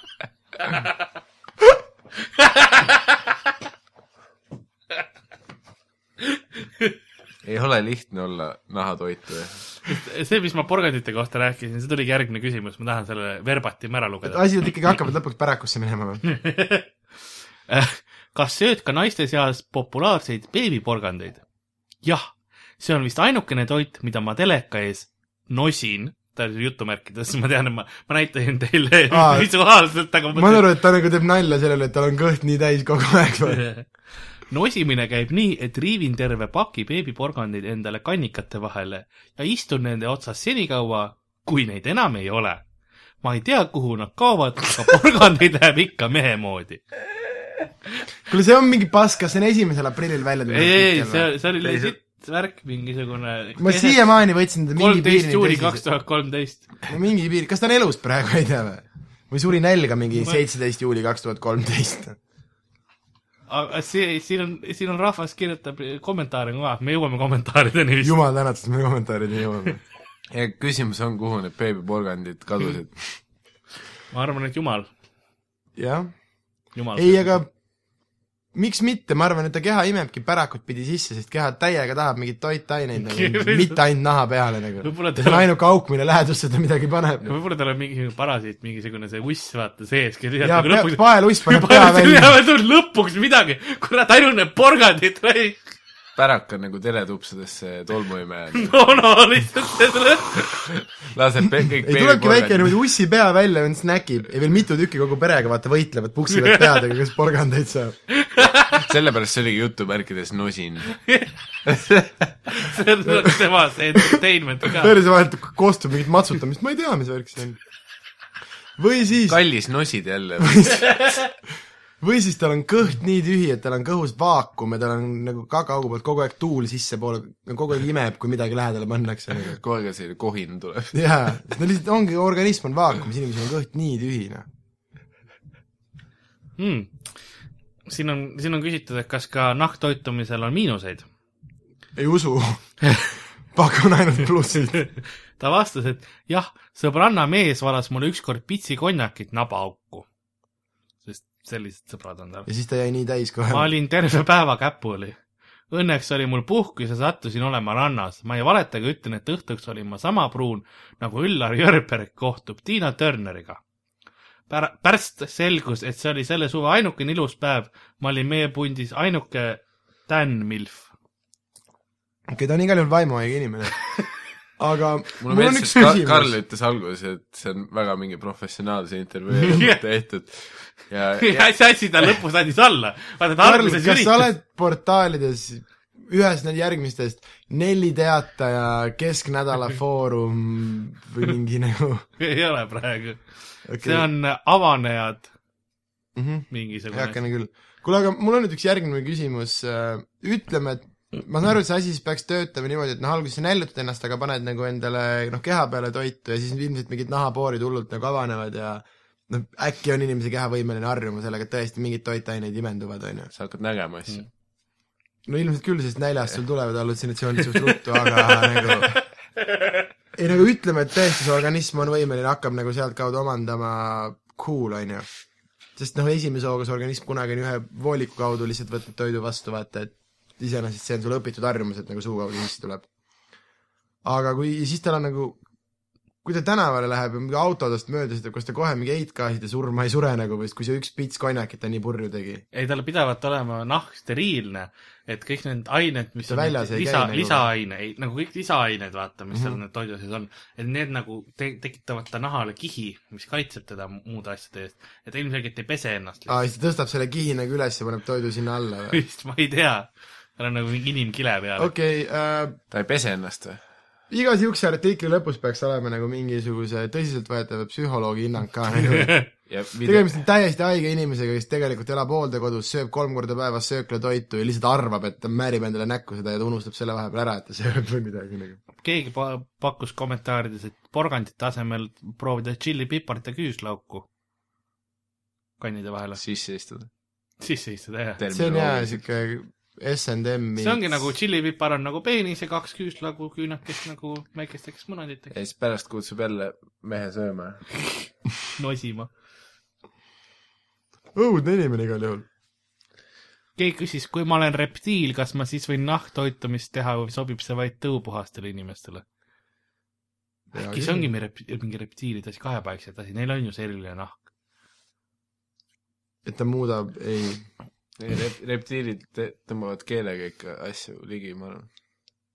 [SPEAKER 4] ei ole lihtne olla nahatoitleja .
[SPEAKER 2] see , mis ma porgandite kohta rääkisin , see tuligi järgmine küsimus , ma tahan selle verbatim ära lugeda .
[SPEAKER 3] asjad ikkagi hakkavad lõpuks pärakusse minema või ?
[SPEAKER 2] Äh, kas sööd ka naiste seas populaarseid beebiporgandeid ? jah , see on vist ainukene toit , mida ma teleka ees nosin , ta oli jutumärkides , ma tean , et ma , ma näitasin teile
[SPEAKER 3] Aa.
[SPEAKER 2] (laughs) visuaalselt , aga
[SPEAKER 3] ma saan aru , et ta nagu teeb nalja sellele , et tal on kõht nii täis kogu aeg või ?
[SPEAKER 2] (laughs) nosimine käib nii , et riivin terve paki beebiporgandeid endale kannikate vahele ja istun nende otsas senikaua , kui neid enam ei ole . ma ei tea , kuhu nad kaovad , aga porgandeid (laughs) läheb ikka mehe moodi .
[SPEAKER 3] kuule , see on mingi pass , kas see on esimesel aprillil välja
[SPEAKER 2] ei , ei , see
[SPEAKER 3] või ?,
[SPEAKER 2] see oli legit värk , mingisugune .
[SPEAKER 3] ma . siiamaani võtsin teda mingi
[SPEAKER 2] kolmteist
[SPEAKER 3] piirini
[SPEAKER 2] juuni kaks tuhat kolmteist .
[SPEAKER 3] no mingi piir , kas ta on elus praegu , ei tea või ? või suri nälga mingi
[SPEAKER 2] Ma-
[SPEAKER 3] seitseteist juuli kaks tuhat kolmteist ?
[SPEAKER 2] aga see , siin on , siin on rahvas kirjutab kommentaare ka , me jõuame kommentaarideni vist .
[SPEAKER 3] jumal tänatud , me kommentaarideni jõuame .
[SPEAKER 4] ja küsimus on , kuhu need beebiporgandid kadusid ?
[SPEAKER 2] ma arvan , et jumal ,
[SPEAKER 3] jah ,
[SPEAKER 2] jumal .
[SPEAKER 3] ei aga miks mitte , ma arvan , et ta keha imebki pärakut pidi sisse , sest keha täiega tahab mingeid toitaineid nagu , mitte ainult naha peale nagu .
[SPEAKER 2] võib-olla
[SPEAKER 3] see
[SPEAKER 2] ta ,
[SPEAKER 3] on ainuke auk , mille lähedusse ta midagi paneb .
[SPEAKER 2] võib-olla tal on mingisugune parasiit , mingisugune see uss , vaata sees , kes
[SPEAKER 3] ja
[SPEAKER 2] lisab
[SPEAKER 3] pea-
[SPEAKER 2] lõpuks ,
[SPEAKER 3] paeluiss paneb pea välja .
[SPEAKER 2] peavad sul lõpuks midagi , kurat , ainult need porgandid ,
[SPEAKER 4] pärak on nagu teletupsadesse tolmuimeja ,
[SPEAKER 2] no no lihtsalt see tuleb .
[SPEAKER 4] laseb pe- kõik
[SPEAKER 3] ei , tulebki väike niimoodi ussi pea välja , nüüd snäkib ja veel mitu tükki kogu perega , vaata , võitlevad , puksivad peadega , kes porgandeid saab . nagu-
[SPEAKER 4] sellepärast see oligi jutumärkides
[SPEAKER 3] (laughs)
[SPEAKER 4] nosin .
[SPEAKER 2] see on tema see entertainment ka .
[SPEAKER 3] päris vahel koostub mingit matsutamist , ma ei tea , mis värk see on . või siis ,
[SPEAKER 4] kallis nosid jälle .
[SPEAKER 3] või siis tal on kõht nii tühi , et tal on kõhus vaakum ja tal on nagu kakaugu poolt kogu aeg tuul sissepoole , kogu aeg imeb , kui midagi lähedale pannakse nagu .
[SPEAKER 4] kogu aeg on selline kohin tuleb .
[SPEAKER 3] jaa , no lihtsalt ongi , organism on vaakumis , inimesel on kõht nii tühi , noh .
[SPEAKER 2] mm. . siin on ,
[SPEAKER 3] (laughs)
[SPEAKER 2] siin on küsitud , et kas ka nahktoitumisel on miinuseid .
[SPEAKER 3] ei usu . pakun ainult plussid .
[SPEAKER 2] ta vastas , et jah , sõbranna mees valas mulle ükskord pitsi konjakit nabaauku . sest sellised sõbrad on
[SPEAKER 3] (laughs)
[SPEAKER 2] tal .
[SPEAKER 3] ja siis ta jäi nii täis kohe .
[SPEAKER 2] ma olin terve päeva käpuli . Õnneks oli mul puhkus ja sattusin olema rannas . ma ei valeta , aga ütlen , et õhtuks olin ma sama pruun nagu Üllar Jörberg kohtub Tiina Turneriga . Pär- , pärst selgus , et see oli selle suve ainukene ilus päev . ma olin meie pundis ainuke Dan Milf .
[SPEAKER 3] okei , ta on igal juhul vaimuhaige inimene . aga
[SPEAKER 4] mulle meeldis , et Ka- Karl ütles alguses , et see on väga mingi professionaalse intervjuu
[SPEAKER 3] (laughs)
[SPEAKER 2] Jah.
[SPEAKER 4] tehtud ja, ja
[SPEAKER 2] see asi ta lõpus andis alla . vaata , ta
[SPEAKER 3] Karl ,
[SPEAKER 2] alguses
[SPEAKER 3] kas sa
[SPEAKER 2] üritas .
[SPEAKER 3] oled portaalides ühes neil järgmistest Nelli Teataja , Kesknädala Foorum või mingi nagu
[SPEAKER 2] ei ole praegu .
[SPEAKER 3] okay.
[SPEAKER 2] see on äh, avanejad
[SPEAKER 3] mm -hmm,
[SPEAKER 2] mingisugune .
[SPEAKER 3] heakene küll . kuule , aga mul on nüüd üks järgmine küsimus , ütleme , et ma saan aru , et see asi siis peaks töötama niimoodi , et noh , alguses sa näljutad ennast , aga paned nagu endale noh , keha peale toitu ja siis ilmselt mingid nahapoorid hullult nagu avanevad ja noh , äkki on inimese keha võimeline harjuma sellega , et tõesti mingid toitaineid imenduvad , on ju .
[SPEAKER 4] sa hakkad nägema asju .
[SPEAKER 3] no ilmselt küll , sest näljast sul tulevad hallutsinatsioonid suht ruttu , aga nagu ei nagu ütleme , et tõesti see organism on võimeline , hakkab nagu sealtkaudu omandama cool , on ju . sest noh , esimese hooga see organism kunagi on ühe vooliku kaudu lihtsalt võtnud toidu vastu , vaata et iseenesest see on sulle õpitud harjumus , et nagu suu kaudu sisse tuleb . aga kui , siis tal on nagu , kui ta tänavale läheb ja mingi autodest mööda sõidab , kas ta kohe mingi heitgaaside surma ei sure nagu või siis , kui see üks pits konjakit ta nii purju tegi ?
[SPEAKER 2] ei , tal pidavat olema nahk steriilne , et kõik need ained , mis
[SPEAKER 3] See
[SPEAKER 2] on
[SPEAKER 3] väljas
[SPEAKER 2] need
[SPEAKER 3] ei
[SPEAKER 2] lisa
[SPEAKER 3] käi , nagu- Mhm.
[SPEAKER 2] lisaaine , ei nagu kõik lisaained , vaata , mis seal mm -hmm. need toidu sees on , et need nagu te tekitavad ta nahale kihi , mis kaitseb teda mu- muude asjade eest . et ta ilmselgelt ei pese ennast
[SPEAKER 3] aa , siis ta tõstab selle kihi nagu üles ja paneb toidu sinna alla või ?
[SPEAKER 2] lihtsalt , (laughs) ma ei tea . tal on nagu mingi inimkile peal okay. .
[SPEAKER 3] okei äh, ,
[SPEAKER 4] ta ei pese ennast või ?
[SPEAKER 3] iga siukse artikli lõpus peaks olema nagu mingisuguse tõsiseltvõetava psühholoogi hinnang ka
[SPEAKER 2] (laughs)
[SPEAKER 3] nagu. .
[SPEAKER 4] ja
[SPEAKER 3] tegemist on täiesti haige inimesega , kes tegelikult elab hooldekodus , sööb kolm korda päevas sööklatoitu ja lihtsalt arvab , et ta määrib endale näkku seda ja ta unustab selle vahepeal ära , et ta sööb või midagi nagu .
[SPEAKER 2] keegi pa pakkus kommentaarides , et porgandite asemel proovida tšillipipart ja küüslauku kannide vahele ,
[SPEAKER 4] sisse istuda .
[SPEAKER 2] sisse istuda jah .
[SPEAKER 3] see on jaa , siuke SNM-i
[SPEAKER 2] see ongi nagu tšillipipar on nagu peenis ja kaks küüslaugu küünakest nagu väikesteks
[SPEAKER 4] ja
[SPEAKER 2] munaditeks
[SPEAKER 4] siis pärast kutsub jälle mehe sööma .
[SPEAKER 2] nosima .
[SPEAKER 3] õudne inimene igal juhul .
[SPEAKER 2] keegi küsis , kui ma olen reptiil , kas ma siis võin nahktoitumist teha või sobib see vaid tõupuhastele inimestele ? äkki see ongi meie rep- , mingi reptiilide asi , kahepaiksed asi , neil on ju see eriline nahk .
[SPEAKER 3] et ta muudab , ei ,
[SPEAKER 4] Rep- , reptiilid te- tõmbavad keelega ikka asju ligi , ma arvan .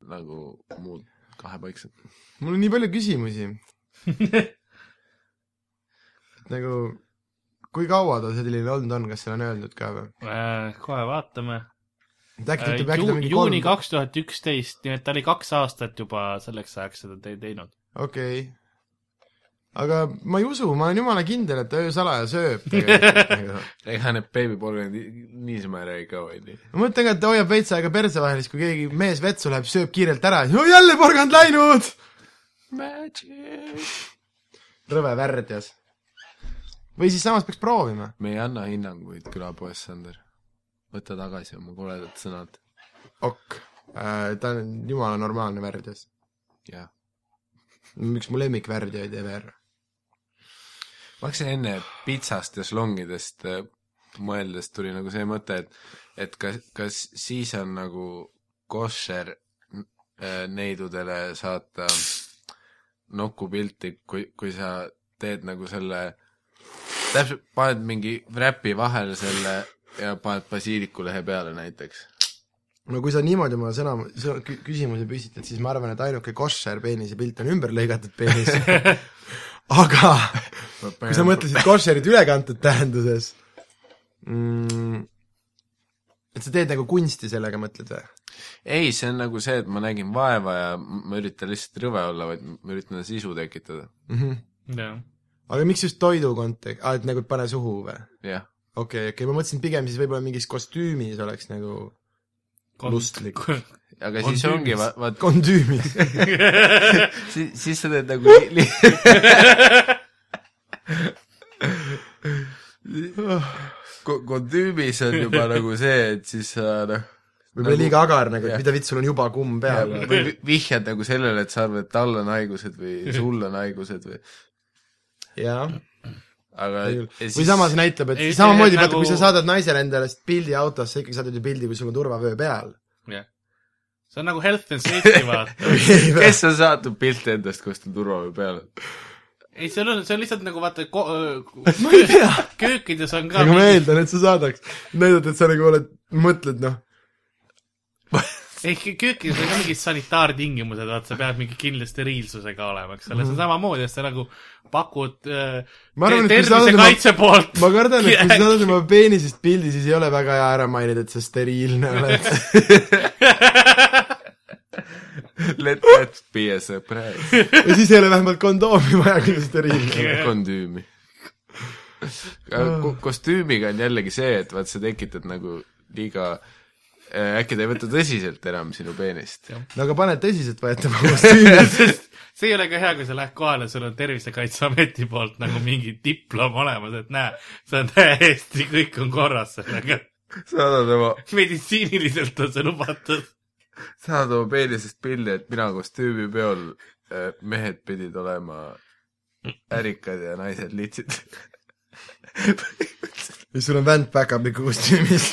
[SPEAKER 4] nagu muud kahepaiksed .
[SPEAKER 3] mul on nii palju (laughs) küsimusi Et nagu , kui kaua ta selline olnud on , kas seal on öeldud ka või ?
[SPEAKER 2] Äh, kohe vaatame .
[SPEAKER 3] et äkki ta ütleb , äkki ta mingi
[SPEAKER 2] Äh, juuni
[SPEAKER 3] kolm ,
[SPEAKER 2] kaks tuhat üksteist , nii et ta oli kaks aastat juba selleks ajaks seda te- teinud .
[SPEAKER 3] okei . aga ma ei usu , ma olen jumala kindel , et ta öösalaja (laughs) sööb tegelikult nagu.
[SPEAKER 4] ega need beebiporgandid niisama ei räägi ka , onju .
[SPEAKER 3] ma mõtlen ka , et ta hoiab veits aega perse vahel , siis kui keegi mees vetsu läheb , sööb kiirelt ära , no jälle porgand läinud . rõve värdjas . või siis samas peaks proovima .
[SPEAKER 4] me ei anna hinnanguid külapoes , Sander . võta tagasi oma koledad sõnad .
[SPEAKER 3] okk , Äh, ta on jumala normaalne värdjas .
[SPEAKER 4] jah .
[SPEAKER 3] üks mu lemmikvärdjaid ever .
[SPEAKER 4] ma hakkasin enne pitsast ja slongidest äh, mõeldes tuli nagu see mõte , et , et kas , kas siis on nagu koššer äh, neidudele saata nokupilti , kui , kui sa teed nagu selle , täpselt paned mingi räpi vahele selle ja paned basiilikulehe peale näiteks .
[SPEAKER 3] no kui sa niimoodi oma sõna , sõna , küsimuse püstitad , siis ma arvan , et ainuke koššer peenise pilt on ümber lõigatud peenis . (laughs) aga kui sa mõtlesid koššerit ülekantud tähenduses mm, , et sa teed nagu kunsti sellega , mõtled või ?
[SPEAKER 4] ei , see on nagu see , et ma nägin vaeva ja m- ma üritan lihtsalt rõve olla , vaid ma üritan sisu tekitada ,
[SPEAKER 3] Mhm.
[SPEAKER 2] jah .
[SPEAKER 3] aga miks just toidu kontek- , aa , et nagu et pane suhu või ?
[SPEAKER 4] jah .
[SPEAKER 3] okei , okei , ma mõtlesin pigem siis võib-olla mingis kostüümis oleks nagu lustlik ,
[SPEAKER 2] (laughs)
[SPEAKER 4] aga
[SPEAKER 2] On
[SPEAKER 4] siis ongi
[SPEAKER 2] tüübis.
[SPEAKER 4] va- , vaat
[SPEAKER 3] kondüümis . (laughs)
[SPEAKER 4] siis , siis sa teed nagu li- , (laughs) li- Ko- kondüümis on juba nagu see , et siis sa noh ,
[SPEAKER 3] võib-olla
[SPEAKER 4] Nagu-
[SPEAKER 3] liiga agar nagu ,
[SPEAKER 4] jah.
[SPEAKER 3] et mida vitt , sul on juba kumm peal .
[SPEAKER 4] või vi- vihjad nagu sellele , et sa arvad , et tal on haigused või sul on haigused või ,
[SPEAKER 3] jah ,
[SPEAKER 4] aga
[SPEAKER 3] või samas näitab , et
[SPEAKER 2] Ei,
[SPEAKER 3] samamoodi
[SPEAKER 2] see
[SPEAKER 3] vaata , kui
[SPEAKER 2] nagu-
[SPEAKER 3] sa saadad naisele endale s- pildi autost , sa ikkagi saadad ju pildi , kui sul on turvavöö peal .
[SPEAKER 2] see on nagu health and safety vaata .
[SPEAKER 3] (laughs)
[SPEAKER 4] kes on saatnud pilte endast , kus ta turvavöö peal on ?
[SPEAKER 2] ei , see on , see on lihtsalt nagu vaata
[SPEAKER 3] (laughs)
[SPEAKER 2] ko- ,
[SPEAKER 3] ma ei tea ,
[SPEAKER 2] köökides on ka
[SPEAKER 3] aga ma eeldan , Nagu et sa saadaks . näidata , et sa nagu oled , mõtled noh ,
[SPEAKER 2] ehk köökides on ka mingid sanitaartingimused , vaata , sa pead mingi kindla steriilsusega olema , eks ole , see on samamoodi , et sa nagu pakud äh,
[SPEAKER 3] Mhm. ma arvan , et kui sa saadad oma
[SPEAKER 2] tervisekaitse poolt
[SPEAKER 3] ma kardan ,
[SPEAKER 2] (laughs)
[SPEAKER 3] et kui sa saadad oma peenisest pildi , siis ei ole väga hea ära mainida , et sa steriilne oled .
[SPEAKER 4] Let that be a surprise .
[SPEAKER 3] ja siis ei ole vähemalt kondoomi vaja , kui sa steriilne oled .
[SPEAKER 4] kondüümi . kostüümiga on jällegi see , et vaat sa tekitad nagu liiga , äkki ta ei võta tõsiselt enam sinu peenist .
[SPEAKER 3] no aga pane tõsiseltvõetava kostüümi .
[SPEAKER 2] (laughs) sest see ei ole ka hea , kui sa lähed kohale , sul on Tervisekaitseameti poolt nagu mingi diplom olemas , et näe , see on täiesti , kõik on korras sellega .
[SPEAKER 4] saadad oma ,
[SPEAKER 2] meditsiiniliselt on see lubatud .
[SPEAKER 4] saadad oma peenisest pildi , et mina kostüümipeol , mehed pidid olema ärikad ja naised litsid .
[SPEAKER 3] ja sul on vänd päkapiku kostüümis .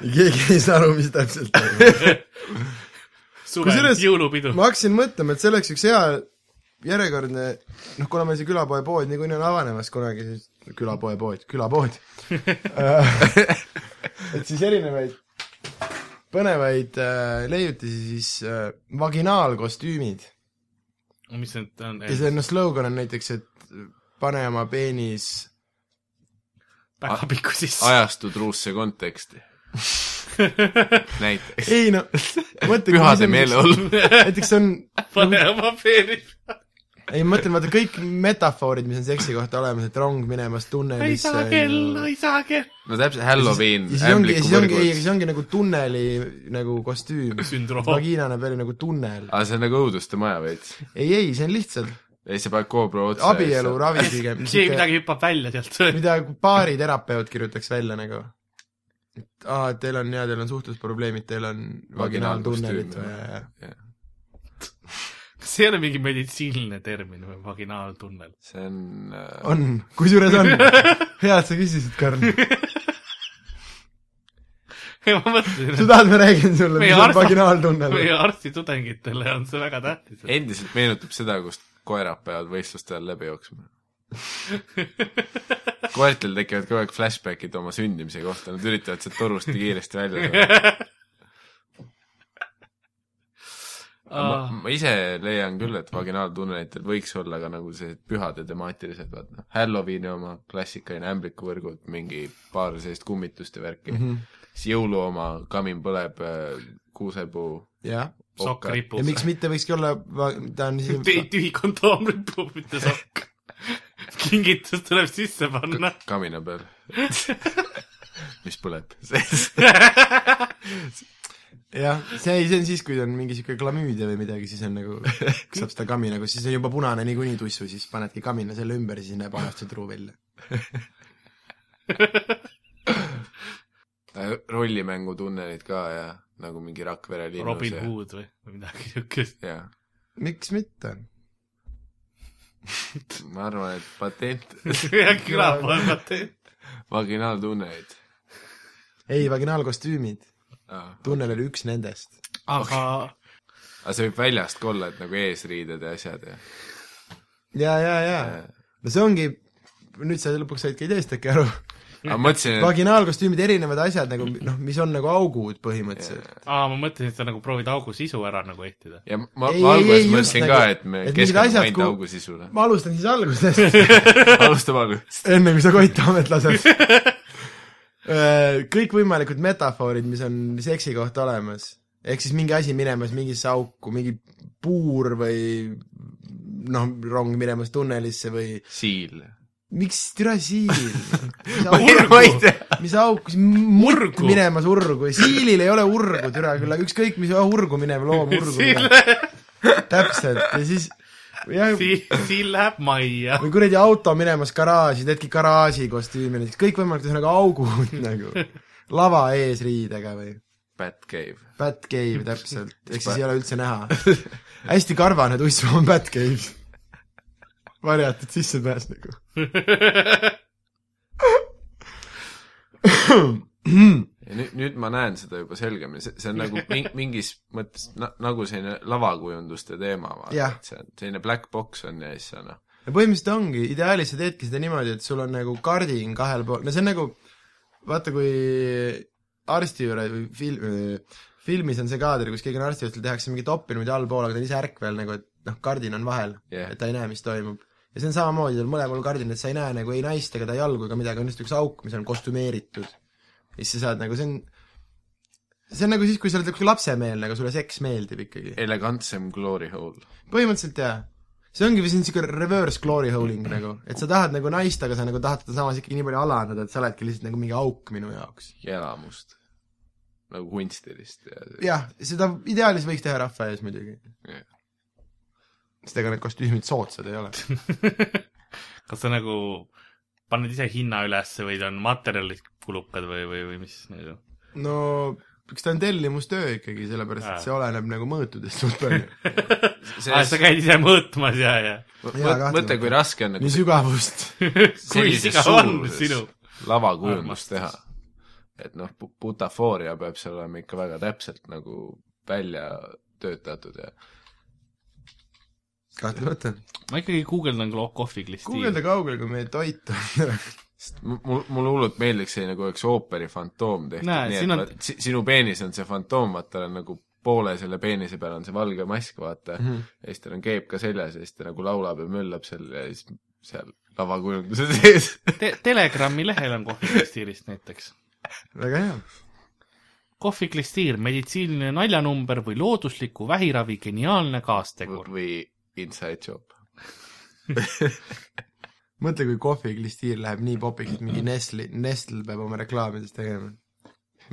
[SPEAKER 3] keegi ei saa aru , mis täpselt toimub .
[SPEAKER 2] suvel
[SPEAKER 3] Kusjuures-
[SPEAKER 2] Kusjuures... (laughs) jõulupidu ma... .
[SPEAKER 3] ma hakkasin mõtlema , et see oleks üks hea järjekordne , noh , kuna meil see külapoe pood niikuinii on avanemas kunagi , siis külapoe pood , külapood .
[SPEAKER 2] (laughs)
[SPEAKER 3] et siis erinevaid põnevaid äh, leiutisi siis äh, vaginaalkostüümid
[SPEAKER 2] mis see nüüd on
[SPEAKER 3] ja ? see noh , slogan on näiteks , et äh, pane oma peenis
[SPEAKER 2] (laughs) päkapiku sisse .
[SPEAKER 4] ajastu truusse konteksti . näiteks .
[SPEAKER 3] ei no , mõtle
[SPEAKER 4] pühade .
[SPEAKER 2] (laughs)
[SPEAKER 4] meeleolu .
[SPEAKER 3] näiteks on ,
[SPEAKER 2] pane oma peeni .
[SPEAKER 3] ei ma mõtlen , vaata kõik metafoorid , mis on seksi kohta olemas , et rong minemas tunnelisse .
[SPEAKER 2] ei saa kella , ei saa kella .
[SPEAKER 4] no täpselt , Halloween
[SPEAKER 3] ja , siis ongi , ja
[SPEAKER 4] ämbliku
[SPEAKER 3] siis ongi , ei , aga
[SPEAKER 4] võrgud .
[SPEAKER 3] siis ongi nagu tunneli nagu kostüüm .
[SPEAKER 2] Sündroom.
[SPEAKER 3] vagina näeb välja nagu tunnel .
[SPEAKER 4] aga see on nagu õuduste maja veits .
[SPEAKER 3] ei , ei , see on lihtsalt
[SPEAKER 4] ei , sa paned GoPro otsa .
[SPEAKER 3] abielu . ravi pigem .
[SPEAKER 2] keegi midagi hüppab välja sealt .
[SPEAKER 3] mida baariterapeut kirjutaks välja nagu . et aa , et teil on jaa , teil on suhtlusprobleemid , teil on vaginaaltunnelid
[SPEAKER 4] Vaginaalkostüüm,
[SPEAKER 3] vaja ja
[SPEAKER 2] see ei ole mingi meditsiiniline termin või vaginaaltunnel . (laughs)
[SPEAKER 4] see on äh,
[SPEAKER 3] on , kusjuures on . hea , et sa küsisid , Karl .
[SPEAKER 2] ma mõtlesin ,
[SPEAKER 3] sa tahad , ma räägin sulle ,
[SPEAKER 2] Meie
[SPEAKER 3] mis on
[SPEAKER 2] arst- et
[SPEAKER 3] vaginaaltunnel ?
[SPEAKER 2] meie arstitudengitele on see väga tähtis .
[SPEAKER 4] endiselt meenutab seda , kust koerad peavad võistluste ajal läbi jooksma . koertel tekivad kogu aeg flashbackid oma sündimise kohta , nad üritavad sealt torust nii kiiresti välja tulla . ma,
[SPEAKER 2] Ah,
[SPEAKER 4] ma ise leian küll , et vaginaaltunnelitel võiks olla ka nagu sellised pühade temaatilised , vaat noh , Halloweeni oma klassikaline ämblikuvõrgud , mingi paar sellist kummitust ja värki
[SPEAKER 3] Mhm.
[SPEAKER 4] mm . -hmm. siis jõulu oma , kamin põleb , kuusepuu .
[SPEAKER 3] jah .
[SPEAKER 2] sokk
[SPEAKER 3] ja
[SPEAKER 2] ripub . (laughs)
[SPEAKER 3] miks mitte võikski olla , ta on
[SPEAKER 2] tühi
[SPEAKER 3] siis ,
[SPEAKER 2] tühi kondoom ripub , mitte sokk .
[SPEAKER 3] (laughs)
[SPEAKER 2] kingitus tuleb sisse panna .
[SPEAKER 4] kamina peal . (laughs) mis põleb . (laughs)
[SPEAKER 3] jah , see ei , see on siis , kui on mingi siuke klamüüdia või midagi , siis on (laughs) nagu , saab seda kamina , kus siis on juba punane niikuinii tussu , siis panedki kamina selle ümber ja siis näeb ajast truu välja .
[SPEAKER 4] Äh, rollimängutunnelid ka ja nagu mingi Rakvere linnas .
[SPEAKER 2] Robin Hood või või midagi
[SPEAKER 3] (laughs)
[SPEAKER 2] siukest . (laughs)
[SPEAKER 4] jah ,
[SPEAKER 3] miks mitte ?
[SPEAKER 4] ma arvan , et patent , (laughs)
[SPEAKER 2] külapoegad .
[SPEAKER 4] vaginaaltunnelid .
[SPEAKER 3] ei , vaginaalkostüümid ,
[SPEAKER 4] aga
[SPEAKER 3] tunnel oli üks nendest .
[SPEAKER 2] aga
[SPEAKER 4] see võib väljast ka olla , et nagu eesriided ja asjad Äh, ja
[SPEAKER 3] ja , ja , ja , no see ongi , nüüd sa lõpuks said ka ideest äkki aru ,
[SPEAKER 4] aga mõtlesin , et
[SPEAKER 3] vaginaalkostüümid , erinevad asjad nagu noh , mis on nagu augud põhimõtteliselt .
[SPEAKER 2] aa , ma mõtlesin , et sa nagu proovid augu sisu ära nagu ehtida .
[SPEAKER 4] ja ma,
[SPEAKER 3] Ei,
[SPEAKER 4] ma
[SPEAKER 3] ei,
[SPEAKER 4] alguses
[SPEAKER 3] ei, just
[SPEAKER 4] mõtlesin
[SPEAKER 3] nagu-
[SPEAKER 4] ka , et me
[SPEAKER 3] et mingid
[SPEAKER 4] keskendume
[SPEAKER 3] asjad,
[SPEAKER 4] ainult
[SPEAKER 3] kuhu-
[SPEAKER 4] augu sisule . (laughs)
[SPEAKER 3] ma alustan siis algusest
[SPEAKER 4] alustame algusest .
[SPEAKER 3] enne kui sa Koit-Taamet (laughs) lased . kõikvõimalikud Äh, metafoorid , mis on seksi kohta olemas , ehk siis mingi asi minemas mingisse auku , mingi puur või noh , rong minemas tunnelisse või
[SPEAKER 4] siil .
[SPEAKER 3] miks türa siil ?
[SPEAKER 4] ma ei , (laughs) ma ei tea .
[SPEAKER 3] mis auk , murgu
[SPEAKER 2] Urgu.
[SPEAKER 3] minemas urgu , siilil ei ole urgu türa küll , aga ükskõik mis urgu minev loom urgu mineb , täpselt ja siis jah ,
[SPEAKER 2] (laughs) siin läheb majja . (laughs)
[SPEAKER 3] või kuradi auto minemas garaaži , teedki (laughs) garaaži kostüümi näiteks , kõikvõimalikud ühesõnaga augud nagu lava ees riidega või
[SPEAKER 4] Batcave .
[SPEAKER 3] Batcave täpselt , ehk siis ei ole üldse näha . hästi karvane tuissu on Batcave . (laughs) varjatud sissepääs nagu .
[SPEAKER 4] ja nüüd , nüüd ma näen seda juba selgemini , see , see on nagu ming- mingis mõttes na, nagu selline lavakujunduste teema , vaata
[SPEAKER 3] Jah. ,
[SPEAKER 4] et see on selline black box on ja siis sa noh ,
[SPEAKER 3] no põhimõtteliselt ongi , ideaalis sa teedki seda niimoodi , et sul on nagu kardin kahel pool , no see on nagu , vaata kui arsti juures või film , filmis on see kaader , kus keegi on arsti juures , tal tehakse mingit oppi niimoodi allpool , aga ta on ise ärkvel nagu , et noh , kardin on vahel
[SPEAKER 4] Jah.
[SPEAKER 3] et ta ei näe , mis toimub . ja see on samamoodi , tal mõlemal kardinal , sa ei näe nagu ei naist ega ta jalgu ega midagi , on lihtsalt üks auk , mis on kostümeeritud . ja siis sa saad nagu , see on , see on nagu siis , kui sa oled niisugune lapsemeelne , aga sulle seks meeldib ikkagi .
[SPEAKER 4] elegantsem glory hole .
[SPEAKER 3] põhimõtteliselt jaa . see ongi vist niisugune reverse glory holing nagu , et sa tahad nagu naist , aga sa nagu tahad teda samas ikkagi nii palju alandada , et sa oledki lihtsalt nagu mingi auk minu jaoks .
[SPEAKER 4] ja elamust . nagu kunstilist ja,
[SPEAKER 3] jah , seda ideaalis võiks teha rahva ees muidugi .
[SPEAKER 4] ja. .
[SPEAKER 3] sest ega need kostüümid soodsad ei ole .
[SPEAKER 2] kas sa nagu paned ise hinna ülesse või on materjalid kulukad või , või , või mis nagu ?
[SPEAKER 3] no eks ta on tellimustöö ikkagi , sellepärast
[SPEAKER 2] Jaa.
[SPEAKER 3] et see oleneb nagu mõõtudest suht
[SPEAKER 4] (laughs)
[SPEAKER 3] palju .
[SPEAKER 2] aa , Ah, sa käid ise mõõtmas ja , ja .
[SPEAKER 3] kahtlemata.
[SPEAKER 4] mõtle , kui raske on
[SPEAKER 3] nii
[SPEAKER 4] nagu (laughs)
[SPEAKER 3] sügavust .
[SPEAKER 2] kui
[SPEAKER 4] sellises
[SPEAKER 2] siga on
[SPEAKER 4] suuruses
[SPEAKER 2] sinu ?
[SPEAKER 4] lavakujundust
[SPEAKER 2] armastus.
[SPEAKER 4] teha . et noh , butafooria peab seal olema ikka väga täpselt nagu välja töötatud ja
[SPEAKER 3] kahtlemata .
[SPEAKER 2] ma ikkagi guugeldan klo- kohviklisti .
[SPEAKER 3] guugelda kaugele , kui meie toit on .
[SPEAKER 4] sest mu- mul , mulle hullult meeldiks see nagu oleks ooperi fantoom tehtud ,
[SPEAKER 2] Näe,
[SPEAKER 4] nii
[SPEAKER 2] siin
[SPEAKER 4] et
[SPEAKER 2] on-
[SPEAKER 4] on... si, sinu peenis on see fantoom , vaata tal on nagu poole selle peenise peal on see valge mask , vaata
[SPEAKER 2] Mhm.
[SPEAKER 4] mm , -hmm. ja siis tal on keep ka seljas ja siis ta nagu laulab ja möllab seal ja siis seal lavakujunduse sees .
[SPEAKER 2] Te- , Telegrami lehel on kohviklistiirist näiteks .
[SPEAKER 3] väga hea .
[SPEAKER 2] kohviklistiir , meditsiiniline naljanumber või loodusliku vähiravi geniaalne kaastegur .
[SPEAKER 4] või inside job .
[SPEAKER 3] mõtle , kui kohviklistiir läheb nii popiks , et mingi Nestle , Nestle peab oma reklaamides tegema .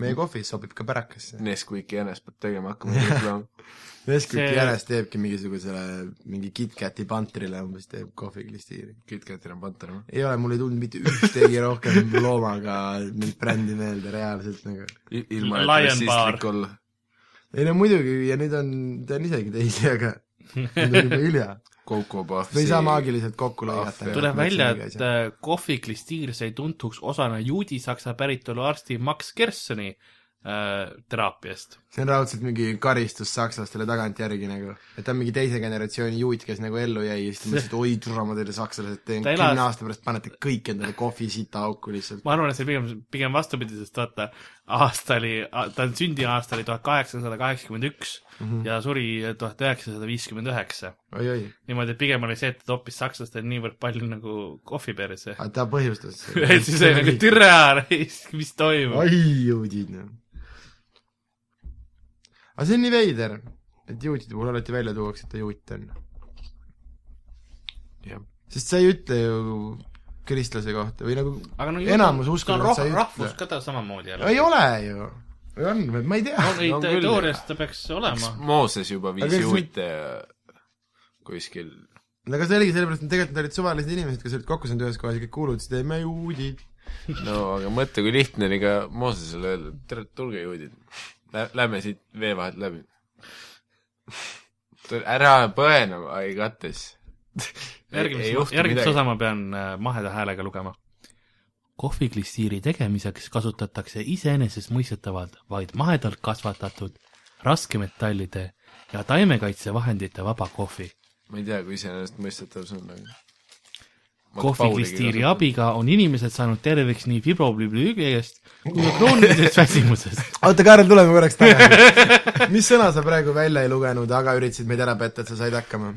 [SPEAKER 3] meie kohvis sobib ka pärakasse .
[SPEAKER 4] Nesquiki jänes peab tegema
[SPEAKER 3] (laughs)
[SPEAKER 4] hakkama reklaami .
[SPEAKER 3] Nesquiki
[SPEAKER 2] See-
[SPEAKER 3] jänes teebki mingisugusele , mingi KitKati pantrile umbes teeb kohviklistiiri .
[SPEAKER 4] KitKatil on panter , noh .
[SPEAKER 3] ei ole , mul ei tulnud mitte ühtegi rohkem loomaga mingit brändi meelde reaalselt nagu .
[SPEAKER 4] ilma , et
[SPEAKER 2] Lion
[SPEAKER 4] rassistlik olla .
[SPEAKER 3] ei no muidugi ja nüüd on , tean isegi teisi ,
[SPEAKER 2] (laughs)
[SPEAKER 3] aga nüüd on juba hilja .
[SPEAKER 4] Coco Puffsi .
[SPEAKER 3] me ei saa maagiliselt kokku lõigata .
[SPEAKER 2] tuleb välja , et äh, kohviklistiir sai tuntuks osana juudi-saksa päritolu arsti Max Gersoni äh, teraapiast .
[SPEAKER 3] see on raudselt mingi karistus sakslastele tagantjärgi nagu , et ta on mingi teise generatsiooni juut , kes nagu ellu jäi ja
[SPEAKER 2] (laughs)
[SPEAKER 3] siis ta mõtles , et oi türa , ma teile sakslased teen ,
[SPEAKER 2] Ta elas-
[SPEAKER 3] kümne aasta pärast panete kõik endale kohvi sita auku lihtsalt .
[SPEAKER 2] ma arvan , et see pigem , pigem vastupidi , sest vaata , aasta oli , ta sündiaasta oli tuhat kaheksasada kaheksakümmend üks ja suri tuhat üheksasada viiskümmend üheksa .
[SPEAKER 3] oi-oi ,
[SPEAKER 2] niimoodi , et pigem oli see , et ta toppis sakslastel niivõrd palju nagu kohvi perse .
[SPEAKER 3] aga ta
[SPEAKER 2] (laughs)
[SPEAKER 3] põhjustas
[SPEAKER 2] et siis oli nagu . türa , (laughs) mis toimub .
[SPEAKER 3] oi juudid noh . aga see on nii veider , et juutide puhul alati välja tuuakse , et ta juut on .
[SPEAKER 4] jah ,
[SPEAKER 3] sest sa ei ütle ju kristlase kohta või nagu
[SPEAKER 2] aga no
[SPEAKER 3] Enamus
[SPEAKER 2] uskunud
[SPEAKER 3] uskunud, sa ei
[SPEAKER 2] roh,
[SPEAKER 3] ütle.
[SPEAKER 2] rahvus ka ta samamoodi jälle .
[SPEAKER 3] ei ole ju , või on , ma ei tea .
[SPEAKER 2] ei
[SPEAKER 4] on ,
[SPEAKER 2] ta
[SPEAKER 4] küll,
[SPEAKER 2] teoorias ta peaks olema .
[SPEAKER 4] Mooses juba
[SPEAKER 3] Aga
[SPEAKER 4] viis
[SPEAKER 3] kas
[SPEAKER 4] juute kuskil
[SPEAKER 3] no aga see oligi sellepärast , et tegelikult nad olid suvalised inimesed , kes olid kokku saanud ühes kohas ja kõik kuulutasid , et me juudid .
[SPEAKER 4] no aga mõtle , kui lihtne oli ka Moosesele öelda , et tere , tulge juudid , lähme siit vee vahelt läbi . (laughs) ära põe nagu , ai
[SPEAKER 2] (laughs)
[SPEAKER 4] kates .
[SPEAKER 2] järgmises , järgmises osa ma pean äh, maheda häälega lugema . kohviklistiiri tegemiseks kasutatakse iseenesestmõistetavalt vaid mahedalt kasvatatud raskemetallide ja taimekaitsevahendite vaba kohvi .
[SPEAKER 4] ma ei tea , kui iseenesestmõistetav see on , aga .
[SPEAKER 2] kohviklistiiri . abiga on inimesed saanud terveks nii fibroblüülgest kui ka kroonilisest väsimusest .
[SPEAKER 3] oota , Karl , tuleme korraks tagasi . (laughs) mis sõna sa praegu välja ei lugenud , aga üritasid meid ära petta , et sa said hakkama ?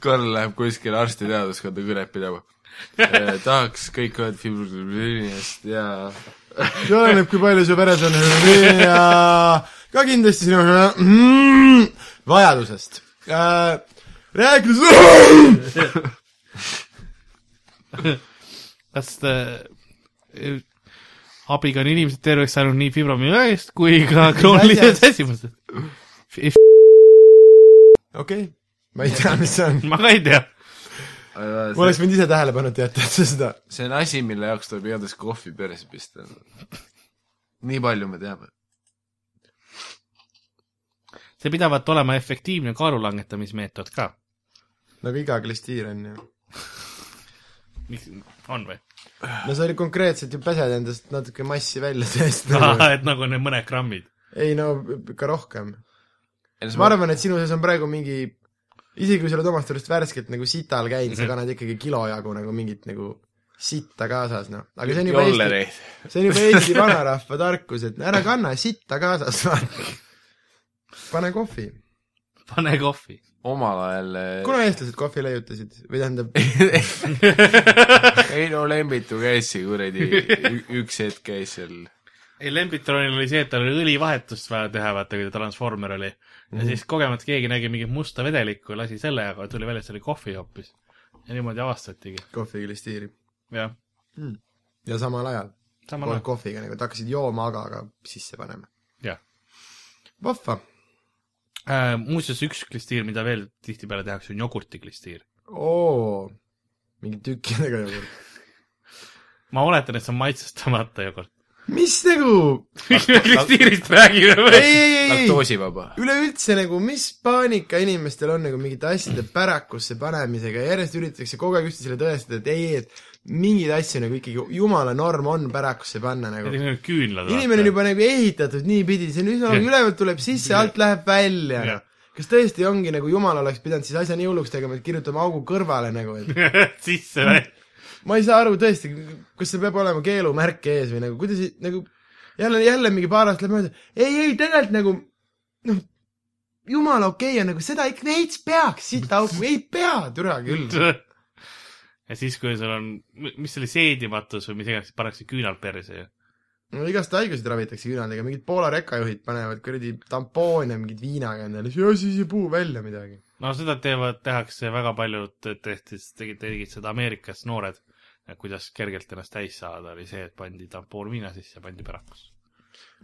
[SPEAKER 4] Karl läheb kuskile arstiteaduskonda kõnet pidama . tahaks kõik öelda fibrillinist ja
[SPEAKER 3] see oleneb , kui palju su veres on ja ka kindlasti sinu mm, vajadusest äh, . rääkides ,
[SPEAKER 2] kas äh, abiga on inimesed terveks saanud nii fibroblüülgest kui ka kroonilisest väsimusest ?
[SPEAKER 3] okei , ma ei tea , mis see on .
[SPEAKER 2] ma ka ei tea
[SPEAKER 4] aga
[SPEAKER 3] ma
[SPEAKER 4] see,
[SPEAKER 3] oleks võinud ise tähele pannud jätta , et sa seda ,
[SPEAKER 4] see on asi , mille jaoks tuleb igatahes kohvi perse pista . nii palju me teame .
[SPEAKER 2] see pidavat olema efektiivne kaalulangetamismeetod ka .
[SPEAKER 3] nagu iga klistiir on ju .
[SPEAKER 2] miks , on või ?
[SPEAKER 3] no sa oli konkreetselt ju pesed endast natuke massi välja seest .
[SPEAKER 2] (laughs) et nagu need mõned grammid .
[SPEAKER 3] ei no ka rohkem . ma arvan , et sinu sees on praegu mingi , isegi kui sa oled omast arust värskelt nagu sital käinud ,
[SPEAKER 2] Mhm.
[SPEAKER 3] sa kannad ikkagi kilo jagu nagu mingit nagu sitta kaasas , noh . aga see on juba Eesti ,
[SPEAKER 4] jollereid .
[SPEAKER 3] see on juba Eesti vanarahva tarkus , et ära kanna sitta kaasas , vaata . pane kohvi .
[SPEAKER 2] pane kohvi .
[SPEAKER 4] omal ajal äh,
[SPEAKER 3] kuna eestlased kohvi leiutasid või tähendab ,
[SPEAKER 4] Heino Lembitu käis siin
[SPEAKER 3] (laughs)
[SPEAKER 4] kuradi , üks hetk käis seal
[SPEAKER 2] ei , Lembitronil oli see , et tal oli õlivahetust vaja teha , vaata kui ta transformer oli . ja mm. siis kogemata keegi nägi mingit musta vedelikku , lasi selle , aga tuli välja , et see oli kohvi hoopis . ja niimoodi avastatigi ,
[SPEAKER 3] kohvi klistiirib .
[SPEAKER 2] jah .
[SPEAKER 3] ja samal ajal
[SPEAKER 2] samal
[SPEAKER 3] koos
[SPEAKER 2] ajal ,
[SPEAKER 3] kohviga nagu , et hakkasid jooma , aga , aga sisse panema .
[SPEAKER 2] jah
[SPEAKER 3] vahva .
[SPEAKER 2] äh, . muuseas , üks klistiir , mida veel tihtipeale tehakse , on jogurtiklistiir .
[SPEAKER 3] oo , mingi tükkidega jogurt .
[SPEAKER 2] ma oletan , et see on maitsestamata jogurt .
[SPEAKER 3] mis nagu ,
[SPEAKER 2] miks me klistiirist räägime või ?
[SPEAKER 3] ei , ei , ei ,
[SPEAKER 2] nagu
[SPEAKER 3] ei ,
[SPEAKER 4] laktoosivaba .
[SPEAKER 3] üleüldse nagu , mis paanika inimestel on nagu mingite asjade pärakusse panemisega , järjest üritatakse kogu aeg üksteisele tõestada , et ei , et mingeid asju nagu ikkagi jumala norm on pärakusse panna nagu .
[SPEAKER 2] näiteks need küünlad .
[SPEAKER 3] inimene on juba nagu ehitatud niipidi , see on üsna
[SPEAKER 2] Jah.
[SPEAKER 3] nagu ülevalt tuleb sisse , alt läheb välja
[SPEAKER 2] Jah.
[SPEAKER 3] noh. kas tõesti ongi nagu jumal oleks pidanud siis asja nii hulluks tegema , et kirjutame augu kõrvale nagu , et
[SPEAKER 2] juba (laughs) sisse või ?
[SPEAKER 3] ma ei saa aru tõesti , kas see peab olema keelumärk ees või nagu kuidas nagu jälle , jälle mingi paar aastat läheb mööda , ei , ei tegelikult nagu noh , jumala okei okay, on nagu seda ikka veits peaks siit auku , ei pea türa küll .
[SPEAKER 2] ja siis , kui sul on , mis see oli , seedimatus või mis iganes , pannakse küünal perse ju .
[SPEAKER 3] no igast haiguseid ravitakse küünaldega , mingid Poola rekkajuhid panevad kuradi tampoone mingid viinaga endale , siis ei puu välja midagi .
[SPEAKER 2] no seda teevad , tegakse väga paljud , tehtis , tegid , tegid seda Ameerikas noored . kuidas kergelt ennast täis saada , oli see , et pandi tampoon viina sisse , pandi pärakusse .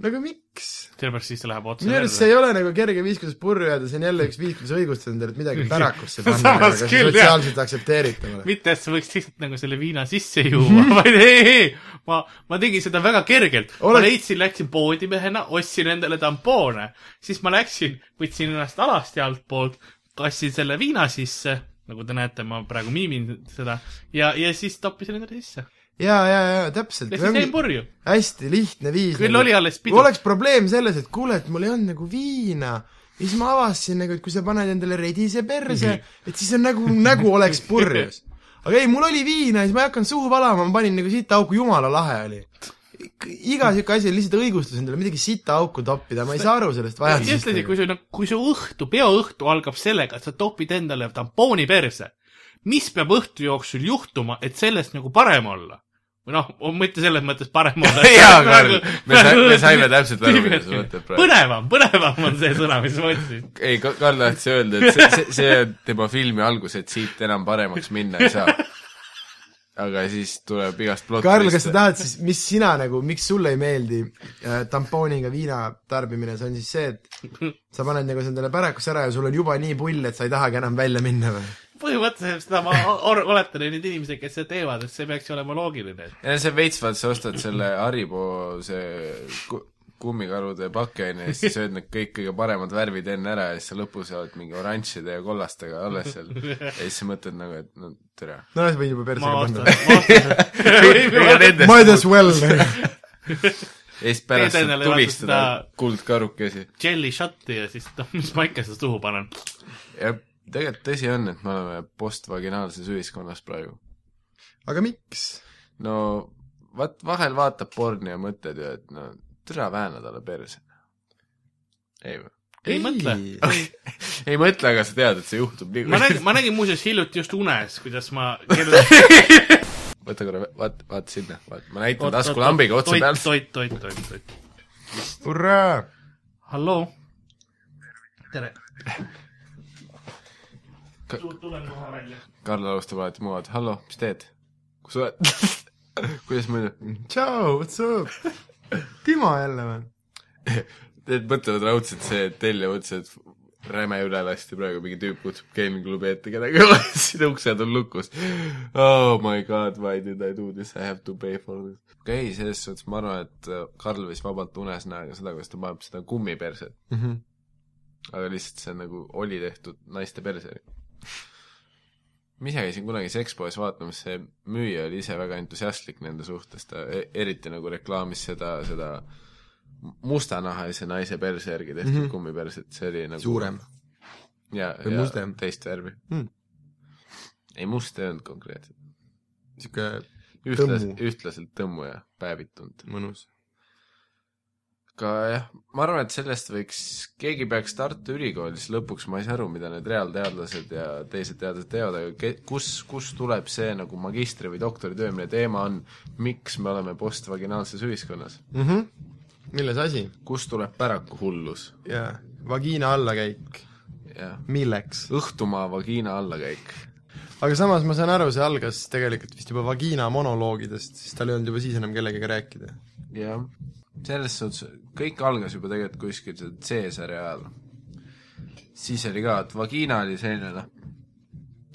[SPEAKER 3] no aga Nagu, miks ?
[SPEAKER 2] sellepärast siis see läheb otse
[SPEAKER 3] minu arust see ei ole nagu kerge viis , kuidas purju jääda , see on jälle üks viis , kuidas õigustada endale ,
[SPEAKER 2] (laughs)
[SPEAKER 3] et midagi pärakusse panna , aga
[SPEAKER 2] Samas
[SPEAKER 3] see on
[SPEAKER 2] küll, jah.
[SPEAKER 3] sotsiaalselt aktsepteeritavale .
[SPEAKER 2] mitte , et sa võiks lihtsalt nagu selle viina sisse juua , (laughs) vaid ei , ei , ma , ma tegin seda väga kergelt . ma
[SPEAKER 3] Oled-
[SPEAKER 2] leidsin , läksin poodimehena , ostsin endale tampoone , siis ma läksin , võtsin ennast alasti altpoolt , kassin selle viina sisse , nagu te näete , ma praegu miimin seda ja , ja siis toppisin endale sisse .
[SPEAKER 3] jaa , jaa , jaa , täpselt .
[SPEAKER 2] ja siis jäin purju .
[SPEAKER 3] hästi lihtne viis .
[SPEAKER 2] Küll oli alles pidu.
[SPEAKER 3] oleks probleem selles , et kuule , et mul ei olnud nagu viina . ja siis ma avastasin nagu , et kui sa paned endale redise perse ,
[SPEAKER 2] Mhm.
[SPEAKER 3] et siis on nagu , nagu oleks
[SPEAKER 2] (laughs)
[SPEAKER 3] purjus . aga ei , mul oli viina ja siis ma ei hakanud suhu valama , ma panin nagu sita auku , jumala lahe oli . iga siuke asi on lihtsalt õigustus endale midagi sita auku toppida , ma ei saa aru sellest vajadusest
[SPEAKER 2] ütlesin ,. kui su , kui su õhtu , peoõhtu algab sellega , et sa topid endale tampooni perse , mis peab õhtu jooksul juhtuma , et sellest nagu parem olla ? või noh , mitte selles mõttes
[SPEAKER 4] (laughs)
[SPEAKER 2] parem olla .
[SPEAKER 4] Jaa, Karl, me sa-
[SPEAKER 2] (laughs)
[SPEAKER 4] me saime täpselt aru, mida sa mõtled praegu.
[SPEAKER 2] põnevam , põnevam on see sõna , mis ma ütlesin .
[SPEAKER 4] ei , Karl tahtis öelda , et see , see , see on tema filmi algus , et siit enam paremaks minna ei saa . aga siis tuleb igast plot
[SPEAKER 3] Karl , kas sa ? tahad siis , mis sina nagu , miks sulle ei meeldi äh, tampooniga viina tarbimine , see on siis see , et sa paned nagu see endale pärakusse ära ja sul on juba nii pull , et sa ei tahagi enam välja minna või ?
[SPEAKER 2] põhimõtteliselt seda ma or- oletan , et need inimesed , kes seda teevad , et see peaks ju olema loogiline .
[SPEAKER 4] ja see veits , vaat sa ostad selle Haribo see ku- kummikarude pakke onju , ja siis sööd need kõik kõige paremad värvid enne ära ja siis sa lõpus oled mingi oranžide ja kollastega alles seal . ja siis sa mõtled nagu , et no tere .
[SPEAKER 3] no sa võid juba
[SPEAKER 2] ma
[SPEAKER 3] persega
[SPEAKER 2] vastan ,
[SPEAKER 3] panna .
[SPEAKER 2] ma
[SPEAKER 4] (laughs)
[SPEAKER 2] vastan .
[SPEAKER 3] Might as well .
[SPEAKER 4] ja siis pärast
[SPEAKER 2] Teed
[SPEAKER 4] saad
[SPEAKER 2] endale
[SPEAKER 4] tulistada
[SPEAKER 2] vaata
[SPEAKER 4] kuldkarukesi .
[SPEAKER 2] Jelly shot'i ja siis noh , mis ma ikka seda suhu panen .
[SPEAKER 4] ja tegelikult tõsi on , et me oleme postvaginaalses ühiskonnas praegu .
[SPEAKER 3] aga miks ?
[SPEAKER 4] no vaat vahel vaatab porni ja mõtled ju , et no türa vääna talle perse . ei või ?
[SPEAKER 2] ei mõtle .
[SPEAKER 4] ei mõtle , aga sa tead , et see juhtub
[SPEAKER 2] ma
[SPEAKER 4] niikuinii .
[SPEAKER 2] nägin , ma nägin muuseas hiljuti just unes , kuidas ma
[SPEAKER 4] (laughs) võta korra , vaata , vaata sinna , vaata , ma näitan taskulambiga otse
[SPEAKER 2] toit,
[SPEAKER 4] peal .
[SPEAKER 2] toit , toit , toit , toit .
[SPEAKER 3] hurraa .
[SPEAKER 2] halloo ? tere .
[SPEAKER 4] Ka-
[SPEAKER 2] tulen kohe välja .
[SPEAKER 4] Karl alustab alati muu alt , hallo , mis teed ? kus sa oled ? (laughs) kuidas muidu ?
[SPEAKER 3] tšau , what's up ? Timo jälle või ?
[SPEAKER 4] Need mõtlevad raudselt see tellija mõtles , et räme üle lasti praegu , mingi tüüp kutsub gaming-klubi ette , kedagi (laughs) ei ole , siin uksed on lukus . Oh my god , why did I do this , I have to pay for this . okei okay, , selles suhtes äh,
[SPEAKER 3] Mhm.
[SPEAKER 4] ma arvan , et Karl võis vabalt unes näha ka seda , kuidas ta paneb seda kummiperset . aga lihtsalt see nagu oli tehtud naiste perse . ma ise käisin kunagi sekspoes vaatamas , see müüja oli ise väga entusiastlik nende suhtes , ta e- eriti nagu reklaamis seda , seda mustanahalise naise perse järgi tehtud mm
[SPEAKER 3] Mhm.
[SPEAKER 4] -hmm. kummiperset , see oli nagu
[SPEAKER 3] suurem .
[SPEAKER 4] ja ,
[SPEAKER 3] või
[SPEAKER 4] ja
[SPEAKER 3] mustem.
[SPEAKER 4] teist värvi
[SPEAKER 3] Mm.
[SPEAKER 4] ei , must ei olnud konkreetselt .
[SPEAKER 3] sihuke
[SPEAKER 4] ühtlaselt ,
[SPEAKER 3] Tõmmu.
[SPEAKER 4] ühtlaselt tõmmu ja päevitunud .
[SPEAKER 3] mõnus .
[SPEAKER 4] aga jah , ma arvan , et sellest võiks , keegi peaks Tartu Ülikoolis lõpuks , ma ei saa aru , mida need reaalteadlased ja teised teadlased teevad , aga ke- , kus , kus tuleb see nagu magistri- või doktoritöö , mille teema on , miks me oleme postvaginaalses ühiskonnas ?
[SPEAKER 3] Mhm. milles asi ?
[SPEAKER 4] kust tuleb päraku hullus ?
[SPEAKER 3] jaa , vagiina allakäik ,
[SPEAKER 4] jah ,
[SPEAKER 3] milleks ?
[SPEAKER 4] Õhtumaa vagiina allakäik .
[SPEAKER 3] aga samas ma saan aru , see algas tegelikult vist juba vagiina monoloogidest , sest tal ei olnud juba siis enam kellegagi rääkida .
[SPEAKER 4] jah , selles suhtes , kõik algas juba tegelikult kuskil seal Caesari ajal . siis oli ka , et vagiina oli selline noh ,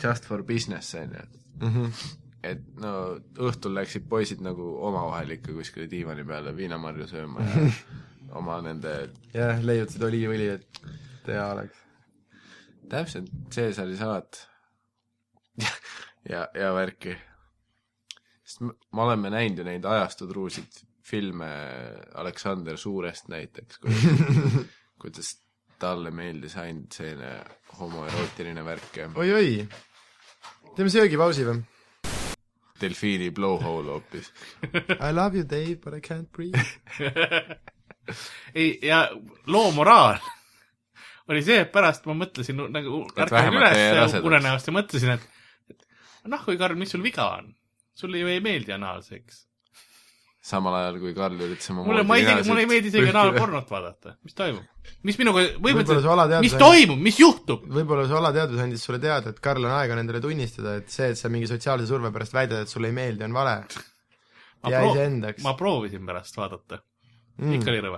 [SPEAKER 4] just for business on ju et no õhtul läksid poisid nagu omavahel ikka kuskile diivani peale viinamarju sööma ja oma nende ,
[SPEAKER 3] jah , leiutasid oliivõli , et hea oleks .
[SPEAKER 4] täpselt , Caesari salat (laughs) ja , ja , ja värki . sest me, me oleme näinud ju neid ajastutruusid filme Aleksander Suurest näiteks , kuidas ,
[SPEAKER 2] (laughs)
[SPEAKER 4] kuidas talle meeldis ainult selline homoerootiline värk ja
[SPEAKER 3] oi-oi , teeme söögipausi või ?
[SPEAKER 4] delfiini blowhole hoopis .
[SPEAKER 3] I love you Dave but I can't breathe .
[SPEAKER 2] ei , ja loo moraal oli see , et pärast ma mõtlesin nu- nagu , ärkasin
[SPEAKER 4] vähemalt jäi
[SPEAKER 2] üles
[SPEAKER 4] rasedaks.
[SPEAKER 2] unenäost ja mõtlesin , et, et noh , kui Karl , mis sul viga on ? sulle ju ei meeldi anaalseks .
[SPEAKER 4] samal ajal kui Karl üritas oma
[SPEAKER 2] mulle , ma isegi , mulle ei meeldi isegi anaalpornot vaadata . mis toimub ? mis minuga ,
[SPEAKER 3] Võib-olla su
[SPEAKER 2] põhimõtteliselt ,
[SPEAKER 3] alateadvus
[SPEAKER 2] mis
[SPEAKER 3] on-
[SPEAKER 2] toimub , mis juhtub ?
[SPEAKER 3] (laughs) võib-olla su alateadvus andis sulle teada , et Karl on aega nendele tunnistada , et see , et sa mingi sotsiaalse surve pärast väidad , et sulle ei meeldi , on vale . jää iseendaks.
[SPEAKER 2] ma proovisin pärast vaadata mm. ,
[SPEAKER 3] Hmm.
[SPEAKER 2] ikka oli rõve .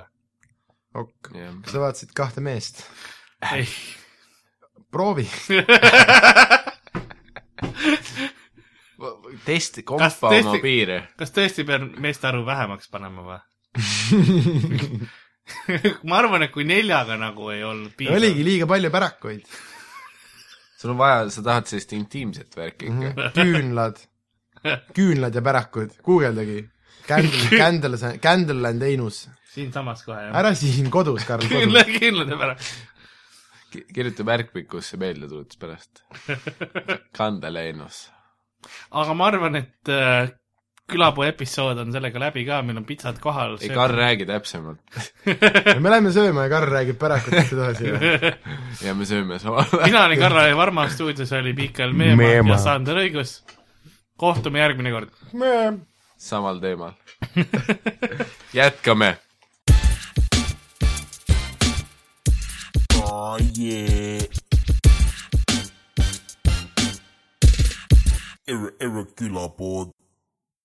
[SPEAKER 3] ok ,
[SPEAKER 4] (laughs) jah ,
[SPEAKER 3] kas sa vaatasid kahte meest ?
[SPEAKER 2] ei ,
[SPEAKER 3] proovi .
[SPEAKER 4] testi ,
[SPEAKER 2] Kas
[SPEAKER 4] kompa
[SPEAKER 2] testi-
[SPEAKER 4] oma piire .
[SPEAKER 2] (laughs) kas tõesti pean meeste arvu vähemaks panema või ?
[SPEAKER 3] (laughs)
[SPEAKER 2] ma arvan , et kui neljaga nagu ei olnud piisav
[SPEAKER 3] oligi . liiga palju pärakuid ,
[SPEAKER 4] sul on vaja , sa tahad sellist intiimset värki ikka .
[SPEAKER 3] küünlad , küünlad ja pärakud , guugeldagi . Candle , Candle , Candle and Anus .
[SPEAKER 2] siinsamas kohe jah .
[SPEAKER 3] ära siin kodus , Karl ,
[SPEAKER 2] kindla
[SPEAKER 3] kodus .,
[SPEAKER 2] kindla teeb ära .
[SPEAKER 4] kirjuta märkmikusse meeldetuletus pärast . kandeleinus .
[SPEAKER 2] aga ma arvan , et äh, külapuu episood on sellega läbi ka , meil on pitsad kohal .
[SPEAKER 4] ei , Karl , räägi täpsemalt .
[SPEAKER 3] me läheme sööma ja Karl räägib pärakutest edasi .
[SPEAKER 4] ja me sööme samal
[SPEAKER 2] (laughs)
[SPEAKER 4] ajal .
[SPEAKER 2] mina olin Karl ja Varma stuudios oli Miikael Meemaa
[SPEAKER 3] Meemaa.
[SPEAKER 2] ja Sander Õigus . kohtume järgmine kord .
[SPEAKER 4] samal teemal . jätkame
[SPEAKER 1] Oh yeah. Ir- irregular board.